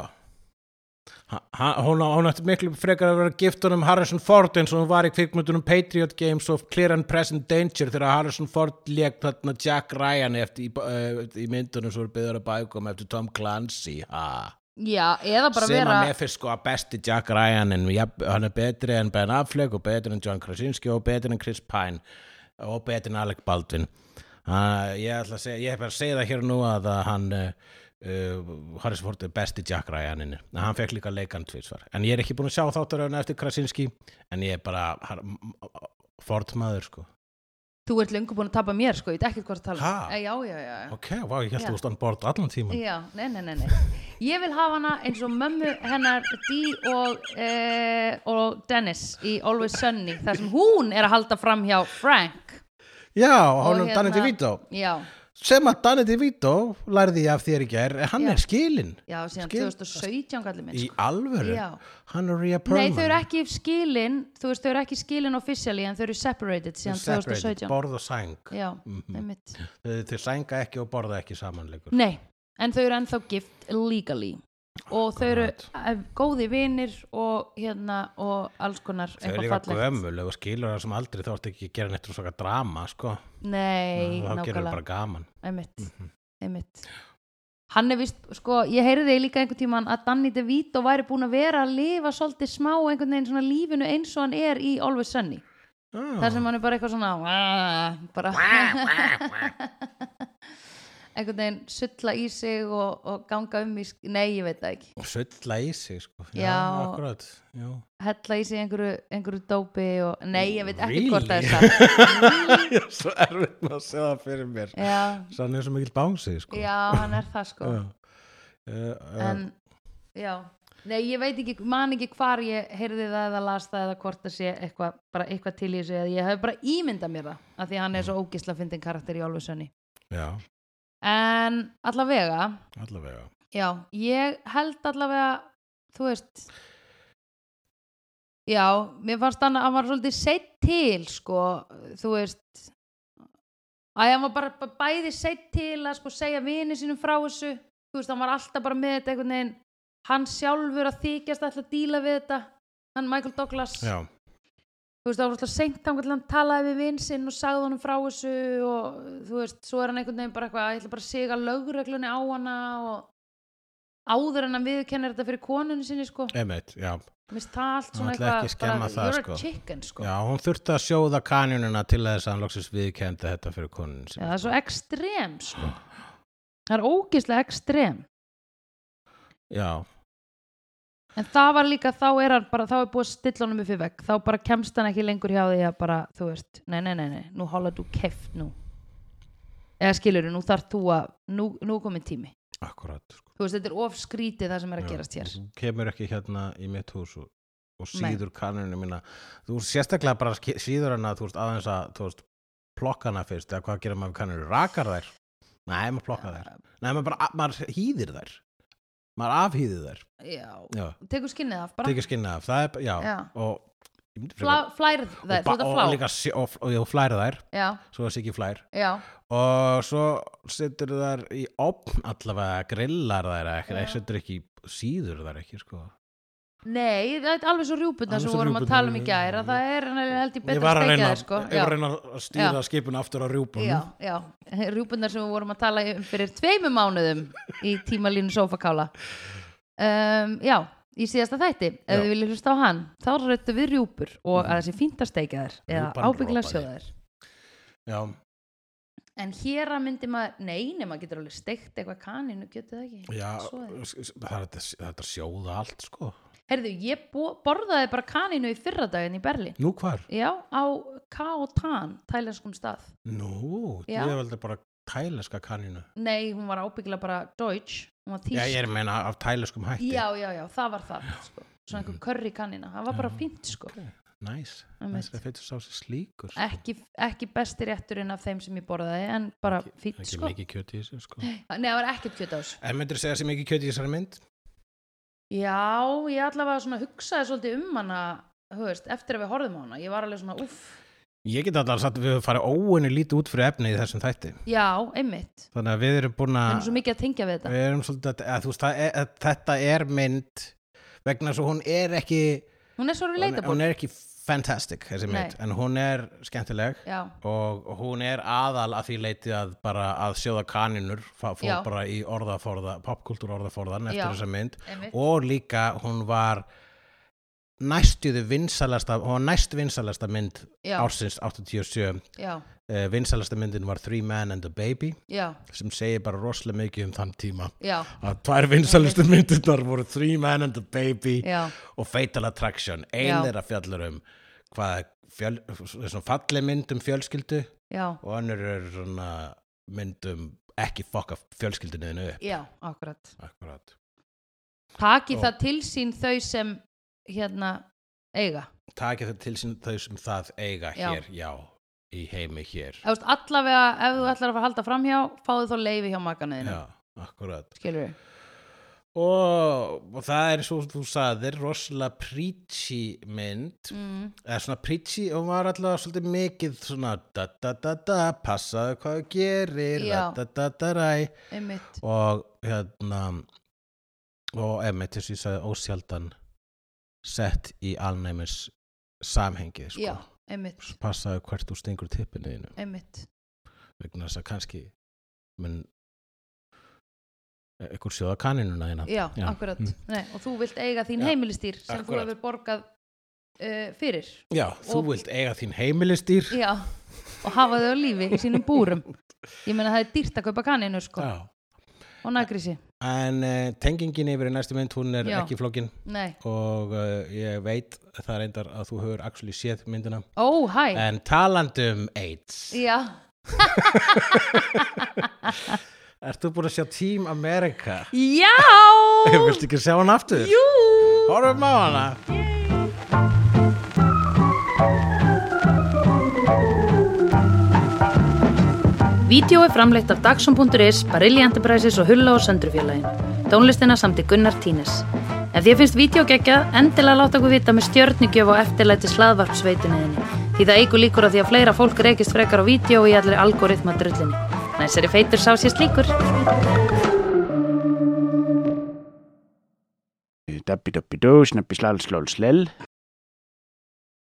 Speaker 2: Ha, hún, hún ætti miklu frekar að vera giftunum Harrison Ford eins og hún var í kvikmyndunum Patriot Games of Clear and Present Danger þegar Harrison Ford lék þarna Jack Ryan eftir, í, uh, í myndunum sem voru byggður að bækum eftir Tom Clancy ha.
Speaker 1: Já, eða bara
Speaker 2: sem
Speaker 1: vera
Speaker 2: að mér finnst sko að besti Jack Ryan en ja, hann er betri en Ben Affleck og betri en John Krasinski og betri en Chris Pine og betri en Alec Baldwin uh, ég ætla að segja ég hef bara að segja það hér og nú að, að hann uh, uh, Harrison Ford er besti Jack Ryanin en hann fekk líka leikann tvísvar en ég er ekki búin að sjá þáttaröðuna eftir Krasinski en ég er bara har, Ford maður sko
Speaker 1: Þú ert lengur búin að tapa mér sko, ég veit ekki hvort að tala um.
Speaker 2: Ha?
Speaker 1: Eh, Já, já, já, já.
Speaker 2: ok, vá, ég held
Speaker 1: Já.
Speaker 2: að þú stóðan bort allan tíman
Speaker 1: Já, nei, nei, nei, nei. Ég vil hafa hana eins og mömmu hennar Dee og, eh, og Dennis í Always Sunny þar sem hún er að halda fram hjá Frank
Speaker 2: já, hann
Speaker 1: Og
Speaker 2: er Danny
Speaker 1: hérna-
Speaker 2: DeVito
Speaker 1: Já,
Speaker 2: sem að Danny DeVito lærði ég af þér í gær hann
Speaker 1: Já.
Speaker 2: er skilinn
Speaker 1: já, síðan
Speaker 2: Skil-
Speaker 1: 2017 kallir minn
Speaker 2: Í
Speaker 1: sko.
Speaker 2: alvöru?
Speaker 1: Já.
Speaker 2: Hann er Rhea Perlman.
Speaker 1: Nei, þau eru ekki skilin þú veist, þau eru ekki skilin officially en þau eru separated síðan
Speaker 2: Separated,
Speaker 1: 2017
Speaker 2: Borð og sæng.
Speaker 1: Já,
Speaker 2: Mhm.
Speaker 1: einmitt
Speaker 2: Þau, þau sænga ekki og borða ekki samanleikur.
Speaker 1: Nei, en þau eru ennþá gift legally og þau eru eh, góði vinir og hérna og alls konar
Speaker 2: Þau eru
Speaker 1: eitthvað
Speaker 2: líka
Speaker 1: fallegt.
Speaker 2: gömul og skilur það sem aldrei þá ertu ekki að gera neitt um svaka drama, sko.
Speaker 1: Nei,
Speaker 2: Mm. þá gerur
Speaker 1: nákvæmlega,
Speaker 2: bara gaman.
Speaker 1: einmitt, einmitt Hann er vist, sko, ég heyriði líka einhvern tímann að Danny DeVito væri búin að vera að lifa svolítið smá einhvern veginn svona lífinu eins og hann er í Always Sunny þar sem hann er bara eitthvað svona "Wah", bara einhvern veginn sulla í sig og, og ganga um í, sk- nei, ég veit það ekki
Speaker 2: Og sulla í sig, sko.
Speaker 1: Já.
Speaker 2: Akkurat, já.
Speaker 1: hella í sig einhverju, einhverju dópi og nei, ég veit ekki
Speaker 2: Really?
Speaker 1: hvort það er satt
Speaker 2: Ég er svo erfitt með að segja það fyrir mér.
Speaker 1: já,
Speaker 2: Sann er svo mikill bánsið, sko.
Speaker 1: já, hann er það sko
Speaker 2: Já. Eh, eh,
Speaker 1: en, já nei, ég veit ekki, man ekki hvar ég heyrði það eða las það eða hvort það sé eitthvað, bara eitthvað til í þessu eða ég hef bara ímyndað mér það, af því að hann er svo ógisla fyndin karakter í Olfusönni
Speaker 2: já,
Speaker 1: en allavega,
Speaker 2: allavega.
Speaker 1: já ég held allavega, þú veist já, mér fannst hann að hann var svolítið seitt til, sko þú veist að hann var bara, bara bæði seitt til að sko segja vini sínum frá þessu þú veist, hann var alltaf bara með þetta einhvern veginn hann sjálfur að þykjast ætla að díla við þetta hann Michael Douglas
Speaker 2: Já,
Speaker 1: þú veist, það var alltaf seint þannig að hann talaði við vin sinn og sagði honum frá þessu og þú veist, svo er hann einhvern veginn bara eitthvað, ég ætla bara að siga lögreglunni á hana og áður en hann viðkennir þetta fyrir konunni sinni sko,
Speaker 2: einmitt, já.
Speaker 1: minnst það allt
Speaker 2: Hann
Speaker 1: svona
Speaker 2: ætlaði ekki
Speaker 1: eitthvað,
Speaker 2: skemma það,
Speaker 1: you're
Speaker 2: sko.
Speaker 1: a chicken sko
Speaker 2: Já, hún þurfti að sjóða kanjununa til þess að hann loksist viðkendi þetta fyrir konin
Speaker 1: Já,
Speaker 2: sem
Speaker 1: það er svo ekstrem sko. það er ógeðslega ekstrem
Speaker 2: Já,
Speaker 1: en það var líka, þá er hann bara þá er búið að stilla honum upp í vegg, þá bara kemst hann ekki lengur hjá því að bara, þú veist nei, nei, nei, nei, nú hola þú keft nú eða skilur, nú þarf þú að nú, nú er kominn tími
Speaker 2: akkurat sko.
Speaker 1: þú veist, þetta er of skrítið það sem er að
Speaker 2: Já,
Speaker 1: gerast hér
Speaker 2: þú kemur ekki hérna í mitt hús og, og
Speaker 1: Nei.
Speaker 2: síður kanunum mína þú veist, sérstaklega bara ske- síður hana þú veist, aðeins að þú veist, plokka hana fyrst eða hvað gerir maður við kanunum, rakar þær nei, maður plokka þær, nei, maður bara maður hýðir þær, maður afhýðir þær
Speaker 1: já,
Speaker 2: já,
Speaker 1: tekur skinnið af bara
Speaker 2: tekið skinna af, það er, bara- já,
Speaker 1: Já.
Speaker 2: og ég myndi
Speaker 1: Fla,
Speaker 2: frekar-
Speaker 1: flærð þær, þú
Speaker 2: og,
Speaker 1: ert að
Speaker 2: ba-
Speaker 1: flá
Speaker 2: og líka sé- og, og, og flæri þær,
Speaker 1: já,
Speaker 2: svo þessi ekki flær
Speaker 1: já,
Speaker 2: og svo setur þær í opn allavega grillar þær ekki,
Speaker 1: Já.
Speaker 2: ja. setur ekki síður þær ekki sko.
Speaker 1: nei, það er alveg svo rjúpurnar
Speaker 2: Alveg
Speaker 1: sem
Speaker 2: svo
Speaker 1: við vorum að
Speaker 2: rjúpurnar,
Speaker 1: tala um í
Speaker 2: já,
Speaker 1: gær
Speaker 2: já.
Speaker 1: að það er held
Speaker 2: ég
Speaker 1: ég betra
Speaker 2: var
Speaker 1: að
Speaker 2: að reyna,
Speaker 1: steikja þær sko
Speaker 2: ég var að, reyna að stýra skipun aftur á rjúpun
Speaker 1: já, já, rjúpurnar sem við vorum að tala um fyrir tveimur mánuðum í tímalínu sofakála um, já, í síðasta þætti ef
Speaker 2: Já. Mhm.
Speaker 1: þið viljið hlusta á hann, þá rættu við rjúpur og að þessi fínt að steikja þær
Speaker 2: Rjúpan
Speaker 1: eða ábyggilega
Speaker 2: dropaði.
Speaker 1: sjóða þær
Speaker 2: já,
Speaker 1: en hér að myndi maður, nei, nei, maður getur alveg steikt eitthvað kaninu, getur það ekki
Speaker 2: já
Speaker 1: Soðið.
Speaker 2: s- s- það er þetta það er að sjóða allt sko
Speaker 1: Heyrðu, ég bo- borðaði bara kaninu í fyrradaginn í Berlín
Speaker 2: nú hvar?
Speaker 1: Já, á Kao Tan, tælenskum stað
Speaker 2: nú,
Speaker 1: Já.
Speaker 2: ég veldi bara tæleska kaninu
Speaker 1: Nei, hún var ábyggilega bara deutsch Hún var
Speaker 2: já,
Speaker 1: tísk
Speaker 2: ég er að meina af tæleskum hætti
Speaker 1: já, já, já, það var það sko. Svona einhver curry kanina, það var bara
Speaker 2: Já,
Speaker 1: fínt sko.
Speaker 2: ok, næs,
Speaker 1: Einmitt.
Speaker 2: næs að feitur sá sér slíkur sko.
Speaker 1: ekki, ekki besti rétturinn af þeim sem ég borðaði En bara fínt
Speaker 2: ekki
Speaker 1: sko. Nei,
Speaker 2: mikið kjöt í þessu sko
Speaker 1: það var ekkert kjöt á þessu
Speaker 2: en myndir segja sér mikið kjöt í þessari mynd?
Speaker 1: Já, ég allavega svona hugsaði svolítið um hana þú veist, Eftir að við horfðum á hana Ég var alveg svona, uff
Speaker 2: Ég get alltaf sagt að við höfum farið óunni lítið út fyrir efni í þessum þætti.
Speaker 1: Já, einmitt,
Speaker 2: Þannig að við erum búin
Speaker 1: við erum
Speaker 2: að,
Speaker 1: svo mikið að tengja við þetta
Speaker 2: við erum svolítið að, að þú veist, það er, að þetta er mynd vegna svo hún er ekki,
Speaker 1: Hún er svo
Speaker 2: hún,
Speaker 1: relatable
Speaker 2: hún er ekki fantastic þessi mynd, en hún er skemmtileg
Speaker 1: Já,
Speaker 2: og og hún er aðal að því leiti að bara að sjóða kaninur, fá fór
Speaker 1: Já.
Speaker 2: bara í orðaforða, popkultúr orðaforðan eftir
Speaker 1: Já.
Speaker 2: þessa mynd
Speaker 1: einmitt
Speaker 2: og líka hún var næstuðu vinsalasta, hún var næst vinsalasta mynd
Speaker 1: Já,
Speaker 2: ársins 87
Speaker 1: já,
Speaker 2: uh, vinsalasta myndin var Three Men and a Baby
Speaker 1: já,
Speaker 2: sem segir bara rosalega mikið um þann tíma
Speaker 1: já,
Speaker 2: að tvær vinsalastu myndirnar voru Three Men and a Baby
Speaker 1: já
Speaker 2: og Fatal Attraction
Speaker 1: Já.
Speaker 2: ein er að fjallar um hvað fjöl, svona falleg mynd um fjölskyldu
Speaker 1: Já,
Speaker 2: og önnur er svona mynd um ekki fokka fjölskyldinu þínu upp
Speaker 1: já, akkurat
Speaker 2: akkurat
Speaker 1: Taki
Speaker 2: Og-
Speaker 1: það til sín þau sem hérna eiga
Speaker 2: takið þau til sín þau sem það eiga
Speaker 1: Já.
Speaker 2: hér, já í heimi hér
Speaker 1: Ef þú veist, allavega, ef þú ætlar að fara að halda framhjá fáðu þá leifi hjá makanuðinu
Speaker 2: já, akkurat
Speaker 1: Skilur við?
Speaker 2: og, og það er svo þú sagðir rosalega preachy mynd
Speaker 1: Mm,
Speaker 2: eða svona preachy og hún var alltaf svolítið mikið svona da da da da passaðu hvað þú gerir da
Speaker 1: Já.
Speaker 2: da da da ræ
Speaker 1: einmitt
Speaker 2: og hérna og emmi til ég sagði ósjaldan sett í alnæmis samhengi sko.
Speaker 1: Já, einmitt,
Speaker 2: passaðu hvert þú stingur tippinu þínu
Speaker 1: einmitt
Speaker 2: vegna þess að kannski mun ykkur sjóða kaninuna þína
Speaker 1: Já, akkurat
Speaker 2: Mm.
Speaker 1: Nei, Og þú vilt eiga þín
Speaker 2: Já,
Speaker 1: heimilistýr sem
Speaker 2: akkurat.
Speaker 1: þú hefur borgað uh, fyrir
Speaker 2: Já, þú
Speaker 1: Og-
Speaker 2: vilt eiga þín heimilistýr
Speaker 1: Já, og hafa þau á lífi í sínum búrum Ég meina það er dýrt að kaupa kaninu sko
Speaker 2: Já.
Speaker 1: og nagrísi,
Speaker 2: En uh, tengingin yfir í næstu mynd, hún er
Speaker 1: Já.
Speaker 2: ekki flókin
Speaker 1: nei
Speaker 2: og uh, ég veit það reyndar að þú hefur actually séð myndina.
Speaker 1: Ó, hæ,
Speaker 2: En talandum AIDS,
Speaker 1: já
Speaker 2: ert þú búin að sjá Team America?
Speaker 1: Já,
Speaker 2: Viltu ekki sjá hann aftur?
Speaker 1: jú
Speaker 2: Horfum á hana.
Speaker 1: Vídeó er framleitt af Dagsum.is, Barilli Enterprises og Hulla og Söndrufjörlægin Tónlistina samt í Gunnar Tínes Ef þér finnst vídeo geggja, endilega láta okkur vita með stjörnigjöf og eftirlæti slaðvarpsveituninni Því það eigur líkur á því að fleira fólk reykist frekar á vídeo og í allir algoritma drullinni Næsari feitur sá sér slíkur
Speaker 3: Dabbi dabbi dó, snabbi slal slal slel